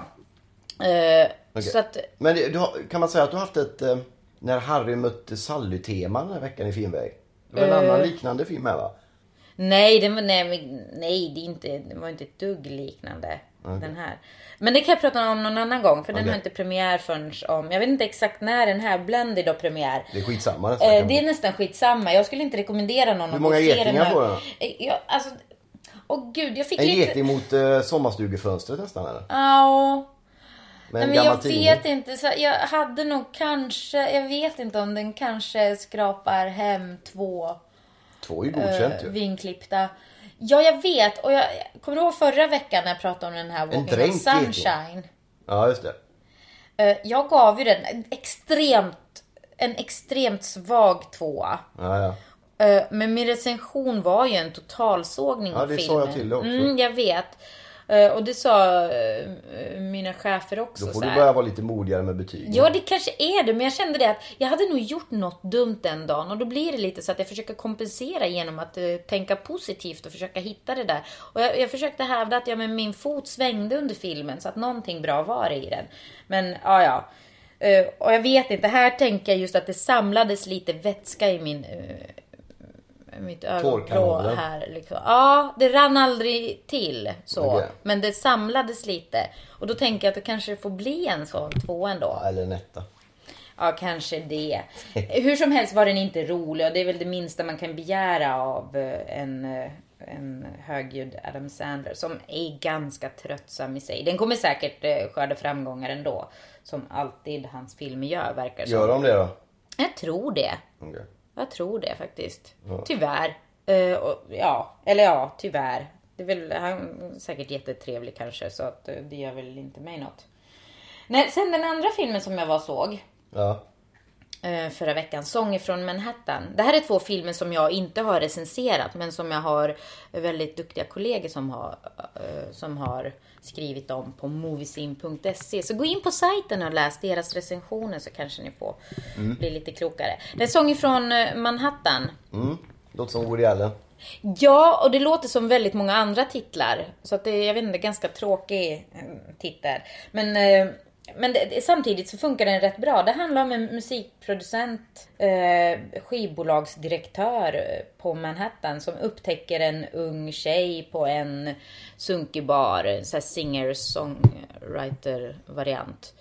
Speaker 1: Eh,
Speaker 2: Okej.
Speaker 1: Så att,
Speaker 2: Men det- du har, kan man säga att du har haft ett eh, När Harry mötte Sally-tema den här veckan i filmväg? Det var en
Speaker 1: Eh.
Speaker 2: annan liknande film här va?
Speaker 1: nej, det var, nej, men- nej det, är inte, det var inte ett dugg liknande. Den här. Men det kan jag prata om någon annan gång. För den
Speaker 2: Okej.
Speaker 1: har inte premiär förrän om... Jag vet inte exakt när den här. Blended har premiär.
Speaker 2: Det är skitsamma nästan.
Speaker 1: Eh, det är nästan skitsamma. Jag skulle inte rekommendera någon
Speaker 2: Hur många getingar får den?
Speaker 1: den? Jag, alltså, åh gud, jag fick
Speaker 2: En
Speaker 1: lite...
Speaker 2: geting mot eh, sommarstugefönstret nästan eller?
Speaker 1: Ja.
Speaker 2: Med
Speaker 1: Nej,
Speaker 2: en
Speaker 1: men jag
Speaker 2: gammal tidning.
Speaker 1: vet inte. Så jag hade nog kanske, jag vet inte om den kanske skrapar hem två
Speaker 2: Två är ju
Speaker 1: eh,
Speaker 2: godkänt ju.
Speaker 1: vinklippta. Ja, jag vet. Och jag kommer du ihåg förra veckan när jag pratade om den här Walking on
Speaker 2: dränkt
Speaker 1: Sunshine?
Speaker 2: Ja just det.
Speaker 1: Eh, jag gav ju den en extremt, en extremt svag tvåa.
Speaker 2: Ja, ja.
Speaker 1: Eh, Men min recension var ju en totalsågning
Speaker 2: Ja,
Speaker 1: av
Speaker 2: det sa
Speaker 1: filmen.
Speaker 2: jag till dig också.
Speaker 1: Mm, jag vet. Eh, Och det sa eh, mina chefer också.
Speaker 2: Då
Speaker 1: så
Speaker 2: får du
Speaker 1: här.
Speaker 2: börja vara lite modigare med betygen.
Speaker 1: Ja, det kanske är det. Men jag kände det att jag hade nog gjort något dumt den dagen. Och då blir det lite så att jag försöker kompensera genom att eh, tänka positivt och försöka hitta det där. Och jag, jag försökte hävda att ja, men min fot svängde under filmen så att någonting bra var det i den. Men ja, ja. Eh, och jag vet inte, här tänker jag just att det samlades lite vätska i min... eh, mitt ögonbrå
Speaker 2: Tårkanalen.
Speaker 1: här. Liksom. Ja, det rann aldrig till så.
Speaker 2: Okej.
Speaker 1: Men det samlades lite. Och då tänker jag att det kanske får bli en sån två ändå.
Speaker 2: Ja, Eller en etta.
Speaker 1: Ja, kanske det. Hur som helst var den inte rolig och det är väl det minsta man kan begära av eh, en, eh, en högljudd Adam Sandler som är ganska tröttsam i sig. Den kommer säkert eh, skörda framgångar ändå. Som alltid hans filmer gör verkar
Speaker 2: Gör
Speaker 1: som.
Speaker 2: de det då?
Speaker 1: Jag tror det.
Speaker 2: Okej.
Speaker 1: Jag tror det faktiskt. Tyvärr. Eh, och, ja, eller ja, tyvärr. Det är väl, han är säkert jättetrevlig kanske så att eh, det gör väl inte mig något. Nej, sen den andra filmen som jag var och såg
Speaker 2: Ja.
Speaker 1: eh, förra veckan, Sånger från Manhattan. Det här är två filmer som jag inte har recenserat men som jag har väldigt duktiga kollegor som har, eh, som har skrivit om på moviesin.se. Så gå in på sajten och läs deras recensioner så kanske ni får bli lite klokare. Det är Sånger från eh, Manhattan.
Speaker 2: Mm. Låter som Woody Allen.
Speaker 1: Ja, och det låter som väldigt många andra titlar. Så att det är, jag vet inte, ganska tråkig eh, titel. Men, eh, men det, det, samtidigt så funkar den rätt bra. Det handlar om en musikproducent, eh, skivbolagsdirektör eh, på Manhattan som upptäcker en ung tjej på en sunkig bar. En sån här singer-songwriter-variant.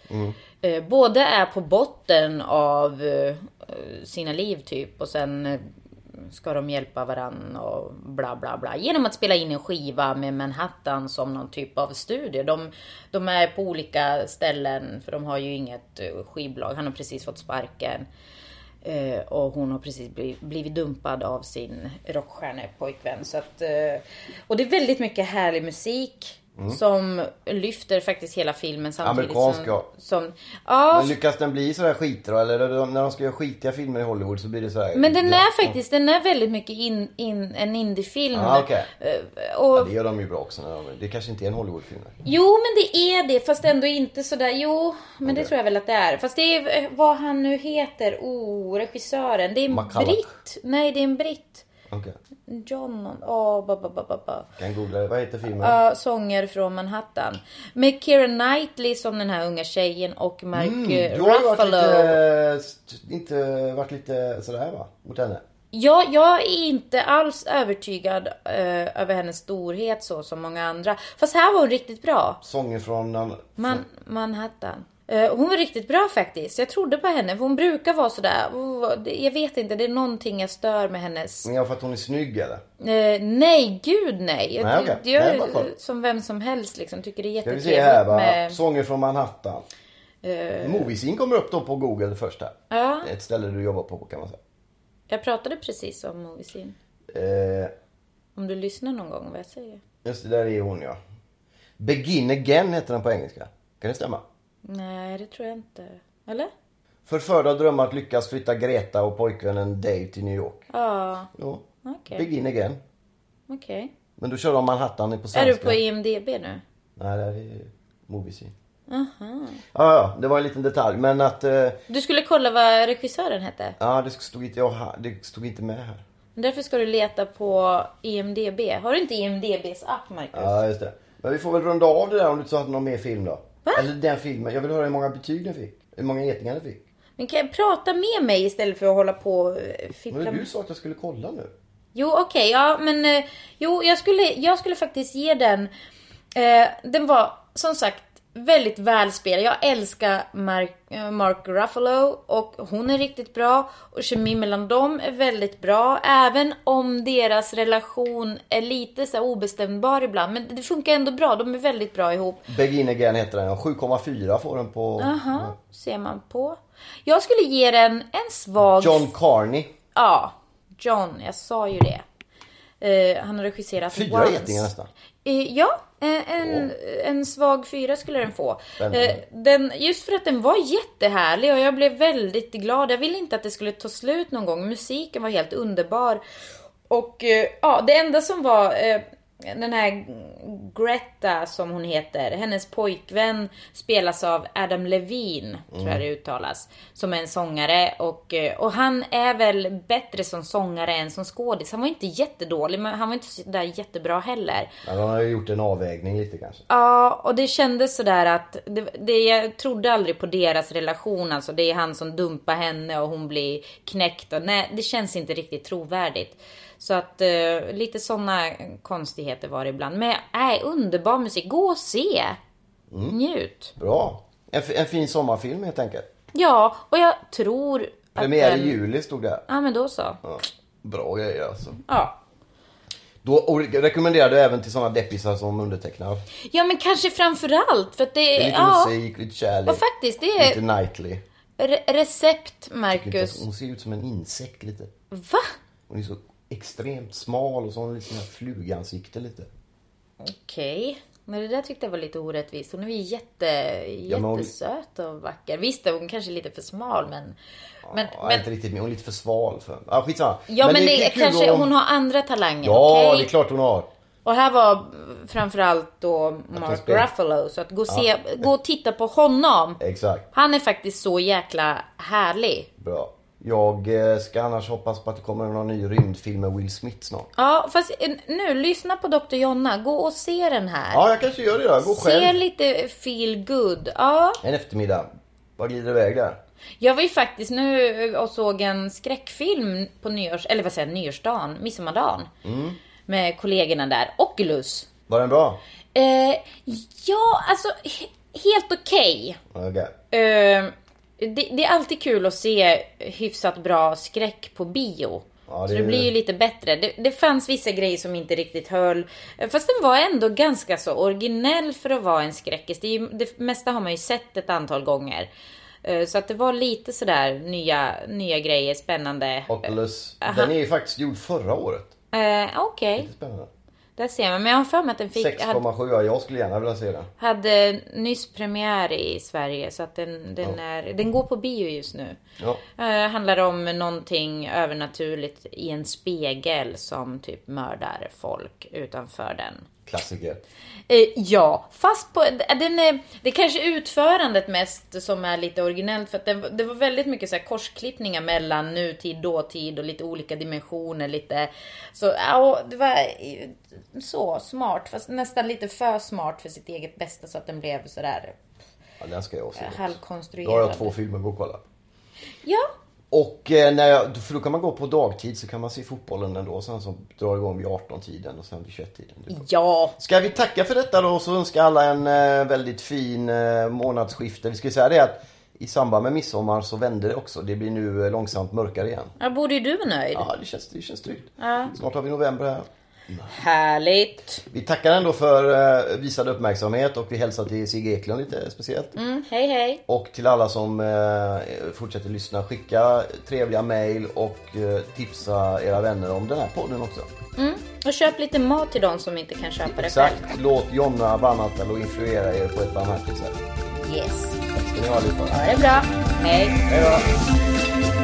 Speaker 1: Eh, båda är på botten av eh, sina liv typ och sen eh, ska de hjälpa varandra och bla bla bla. Genom att spela in en skiva med Manhattan som någon typ av studio. De, de är på olika ställen för de har ju inget eh, skivbolag. Han har precis fått sparken. Eh, och hon har precis blivit, blivit dumpad av sin rockstjärnepojkvän. Så att, eh, och det är väldigt mycket härlig musik.
Speaker 2: Mm.
Speaker 1: Som lyfter faktiskt hela filmen samtidigt
Speaker 2: Amerikansk,
Speaker 1: som...
Speaker 2: ja.
Speaker 1: som ja,
Speaker 2: Men lyckas den bli sådär skitbra eller när de- när de ska göra skitiga filmer i Hollywood så blir det sådär.
Speaker 1: Men den
Speaker 2: Ja.
Speaker 1: är faktiskt, den är väldigt mycket in, in, en indiefilm.
Speaker 2: Ah, okej.
Speaker 1: Eh,
Speaker 2: Ja,
Speaker 1: och,
Speaker 2: det gör de ju bra också. När de, det kanske inte är en Hollywoodfilm. nej.
Speaker 1: jo men det är det, fast ändå inte sådär, jo men det
Speaker 2: Okej.
Speaker 1: tror jag väl att det är. Fast det är eh, vad han nu heter, oh regissören, det är en
Speaker 2: McCulloch.
Speaker 1: britt. Nej det är en britt.
Speaker 2: Okej.
Speaker 1: John, åh ba, ba, ba, ba, ba.
Speaker 2: Kan googla det. Vad heter filmen?
Speaker 1: Ja, sånger från Manhattan. Med Keira Knightley som den här unga tjejen och
Speaker 2: Mm,
Speaker 1: Mark eh,
Speaker 2: du har ju varit
Speaker 1: Ruffalo.
Speaker 2: lite, st- inte varit lite sådär va? Mot henne?
Speaker 1: Jag, jag är inte alls övertygad eh, över hennes storhet så som många andra. Fast här var hon riktigt bra.
Speaker 2: Sånger från... en-
Speaker 1: Man, Manhattan. Eh, hon var riktigt bra faktiskt. Jag trodde på henne. För hon brukar vara sådär. "Oh, det- Jag vet inte, det är någonting jag stör med hennes.
Speaker 2: Ja, för att hon är snygg eller?
Speaker 1: Eh, nej, gud nej. Jag,
Speaker 2: Nej,
Speaker 1: ty-
Speaker 2: okej.
Speaker 1: jag
Speaker 2: Nej, bara kolla.
Speaker 1: som vem som helst liksom. Tycker det är
Speaker 2: Ska vi se här
Speaker 1: jättetrevligt
Speaker 2: va.
Speaker 1: med...
Speaker 2: Sånger från Manhattan.
Speaker 1: eh,
Speaker 2: Moviesin kommer upp då på Google först här.
Speaker 1: ja,
Speaker 2: Det är ett ställe du jobbar på kan man säga.
Speaker 1: jag pratade precis om Moviesin.
Speaker 2: Eh,
Speaker 1: Om du lyssnar någon gång vad jag säger.
Speaker 2: just det, där är hon ja. Begin again heter den på engelska. Kan det stämma?
Speaker 1: Nej, det tror jag inte. Eller?
Speaker 2: Förförda drömmar att lyckas flytta Greta och pojkvännen Dave till New York.
Speaker 1: Ja,
Speaker 2: Ja.
Speaker 1: okej.
Speaker 2: Begin again.
Speaker 1: Okej.
Speaker 2: Men då kör de Manhattan på
Speaker 1: Är
Speaker 2: svenska.
Speaker 1: du på IMDB nu?
Speaker 2: Nej, det här är Moviesin. Aha. Ja, ja, det var en liten detalj. Men att... eh,
Speaker 1: Du skulle kolla vad regissören hette.
Speaker 2: Ja, det stod inte jag här. Det stod inte med här.
Speaker 1: Därför ska du leta på E IMDB. Har du inte E IMDBs app, Marcus?
Speaker 2: Ja, just det. Men vi får väl runda av det där om du inte hade någon mer film då. Eller den filmen. Jag vill höra hur många betyg den fick. Hur många getingar den fick.
Speaker 1: Men kan jag prata med mig istället för att hålla på och eh,
Speaker 2: Men
Speaker 1: fippla?
Speaker 2: du
Speaker 1: med-
Speaker 2: sa att jag skulle kolla nu.
Speaker 1: Jo, okej. ja, men eh, jo, jag skulle, jag skulle faktiskt ge den... Eh, den var som sagt väldigt välspelad. Jag älskar Mark, eh, Mark Ruffalo och hon är riktigt bra. Och kemin mellan dem är väldigt bra. Även om deras relation är lite så här obestämbar ibland. Men det funkar ändå bra. De är väldigt bra ihop.
Speaker 2: Begin again heter den. 7,4 får den på
Speaker 1: Aha, ser man på. Jag skulle ge den en svag...
Speaker 2: John Carney.
Speaker 1: Ja, John. Jag sa ju det. Eh, han har regisserat
Speaker 2: Fyra
Speaker 1: Once.
Speaker 2: getingar nästan.
Speaker 1: Eh, ja, eh, en, en svag fyra skulle den få.
Speaker 2: Spännande.
Speaker 1: Eh, den, just för att den var jättehärlig och jag blev väldigt glad. Jag ville inte att det skulle ta slut någon gång. Musiken var helt underbar. Och eh, ja, det enda som var eh, den här Greta som hon heter, hennes pojkvän spelas av Adam Levine, tror jag det uttalas, som är en sångare och, eh, och han är väl bättre som sångare än som skådis. Han var inte jättedålig, men han var inte så där jättebra heller.
Speaker 2: Men han har ju gjort en avvägning lite kanske.
Speaker 1: Ja, och det kändes sådär att det, det, jag trodde aldrig på deras relation. Alltså det är han som dumpar henne och hon blir knäckt. Och, nej, det känns inte riktigt trovärdigt. Så att eh, lite sådana konstigheter var det ibland. Men nej, underbar musik. Gå och se!
Speaker 2: Mm.
Speaker 1: Njut!
Speaker 2: Bra. En, f- en fin sommarfilm helt enkelt.
Speaker 1: Ja, och jag tror att
Speaker 2: Premiär i
Speaker 1: den-
Speaker 2: juli stod det. här.
Speaker 1: Ja, men då så.
Speaker 2: Ja. Bra grejer alltså.
Speaker 1: Ja.
Speaker 2: Då och rekommenderar du även till sådana deppisar som undertecknar.
Speaker 1: Ja, men kanske framförallt för att det,
Speaker 2: Det är lite
Speaker 1: Eh, ja,
Speaker 2: musik, lite kärlek.
Speaker 1: och faktiskt det är
Speaker 2: Lite Knightley.
Speaker 1: re- recept,
Speaker 2: Lite att
Speaker 1: Marcus.
Speaker 2: Hon ser ut som en insekt lite.
Speaker 1: Va?
Speaker 2: Hon är så extremt smal och så har hon lite sån här flugansikte lite.
Speaker 1: Okej. Men det där tyckte jag var lite orättvist. Hon är ju jätte,
Speaker 2: men hon-
Speaker 1: jättesöt och vacker. Visst, hon kanske är lite för smal men... Men,
Speaker 2: ja,
Speaker 1: men,
Speaker 2: inte riktigt, men hon är lite för sval för... Ja, skitsamma.
Speaker 1: ja men, det,
Speaker 2: är
Speaker 1: är
Speaker 2: kul
Speaker 1: kanske
Speaker 2: om-
Speaker 1: hon har andra talanger.
Speaker 2: Ja,
Speaker 1: okej?
Speaker 2: det är klart hon har.
Speaker 1: Och här var framförallt då
Speaker 2: hon
Speaker 1: Mark
Speaker 2: spelar-
Speaker 1: Ruffalo. Så att gå och, se, gå och titta på honom.
Speaker 2: Exakt.
Speaker 1: Han är faktiskt så jäkla härlig.
Speaker 2: Bra. Jag eh, ska annars hoppas på att det kommer någon ny rymdfilm med Will Smith snart.
Speaker 1: Ja, fast en- nu, lyssna på Dr. Jonna. Gå och se den här.
Speaker 2: Ja, jag kanske gör det då. Jag går
Speaker 1: se
Speaker 2: själv.
Speaker 1: lite feel good. Ja.
Speaker 2: En eftermiddag. Bara glider iväg där.
Speaker 1: Jag var ju faktiskt nu och såg en skräckfilm på nyårs... Eller vad säger jag? Nyårsdagen? Midsommardagen. Med kollegorna där. Oculus.
Speaker 2: Var den bra?
Speaker 1: Eh, ja, alltså he- helt okej.
Speaker 2: Okej.
Speaker 1: Eh, det, det är alltid kul att se hyfsat bra skräck på bio.
Speaker 2: Ja, det
Speaker 1: Så
Speaker 2: är
Speaker 1: det
Speaker 2: ju-
Speaker 1: blir ju lite bättre. Det, det fanns vissa grejer som inte riktigt höll. Eh, Fast den var ändå ganska så originell för att vara en skräckis. Det, är ju, det mesta har man ju sett ett antal gånger. Eh, Så att det var lite sådär nya, nya grejer, spännande.
Speaker 2: Oculus. Den är ju faktiskt gjord förra året.
Speaker 1: Eh, Okej,
Speaker 2: Spännande.
Speaker 1: där ser man. Men jag har för mig att den fick, hade,
Speaker 2: 6,7. Ja, jag skulle gärna vilja se den.
Speaker 1: hade nyss premiär i Sverige. Så att den, den, är, den går på bio just nu.
Speaker 2: Ja.
Speaker 1: Eh, handlar om någonting övernaturligt i en spegel som typ mördar folk utanför den.
Speaker 2: Klassiker.
Speaker 1: Eh, ja, fast på, eh, den är, det är kanske utförandet mest som är lite originellt för att det, det var väldigt mycket så här korsklippningar mellan nutid, dåtid och lite olika dimensioner. Lite, så ja, och det var eh, så smart, fast nästan lite för smart för sitt eget bästa så att den blev sådär
Speaker 2: Ja, den ska jag se. också. Då har
Speaker 1: halvkonstruerad.
Speaker 2: jag två filmer att gå och kolla.
Speaker 1: Ja,
Speaker 2: Och eh, när jag, för då kan man gå på dagtid så kan man se fotbollen ändå. Sen så drar igång vid 18-tiden och sen vid 21-tiden.
Speaker 1: Ja,
Speaker 2: Ska vi tacka för detta då och så önska alla en eh, väldigt fin eh, månadsskifte. Vi ska ju säga det att i samband med midsommar så vände det också. Det blir nu eh, långsamt mörkare igen.
Speaker 1: här borde ju du vara nöjd.
Speaker 2: Ja, det känns, det känns tryggt. Snart har vi november här.
Speaker 1: Härligt.
Speaker 2: Vi tackar ändå för eh, visad uppmärksamhet och vi hälsar till Sigge Eklund lite speciellt.
Speaker 1: Mm, hej hej.
Speaker 2: Och till alla som eh, fortsätter lyssna, skicka trevliga mejl och eh, tipsa era vänner om den här podden också.
Speaker 1: Mm. Och köp lite mat till de som inte kan köpa det själv.
Speaker 2: Exakt, låt Jonna Vanhatalo influera er på ett barmhärtigt sätt.
Speaker 1: Yes.
Speaker 2: Ska ni ha lite av det?
Speaker 1: Ha det bra. Hej.
Speaker 2: Hej då!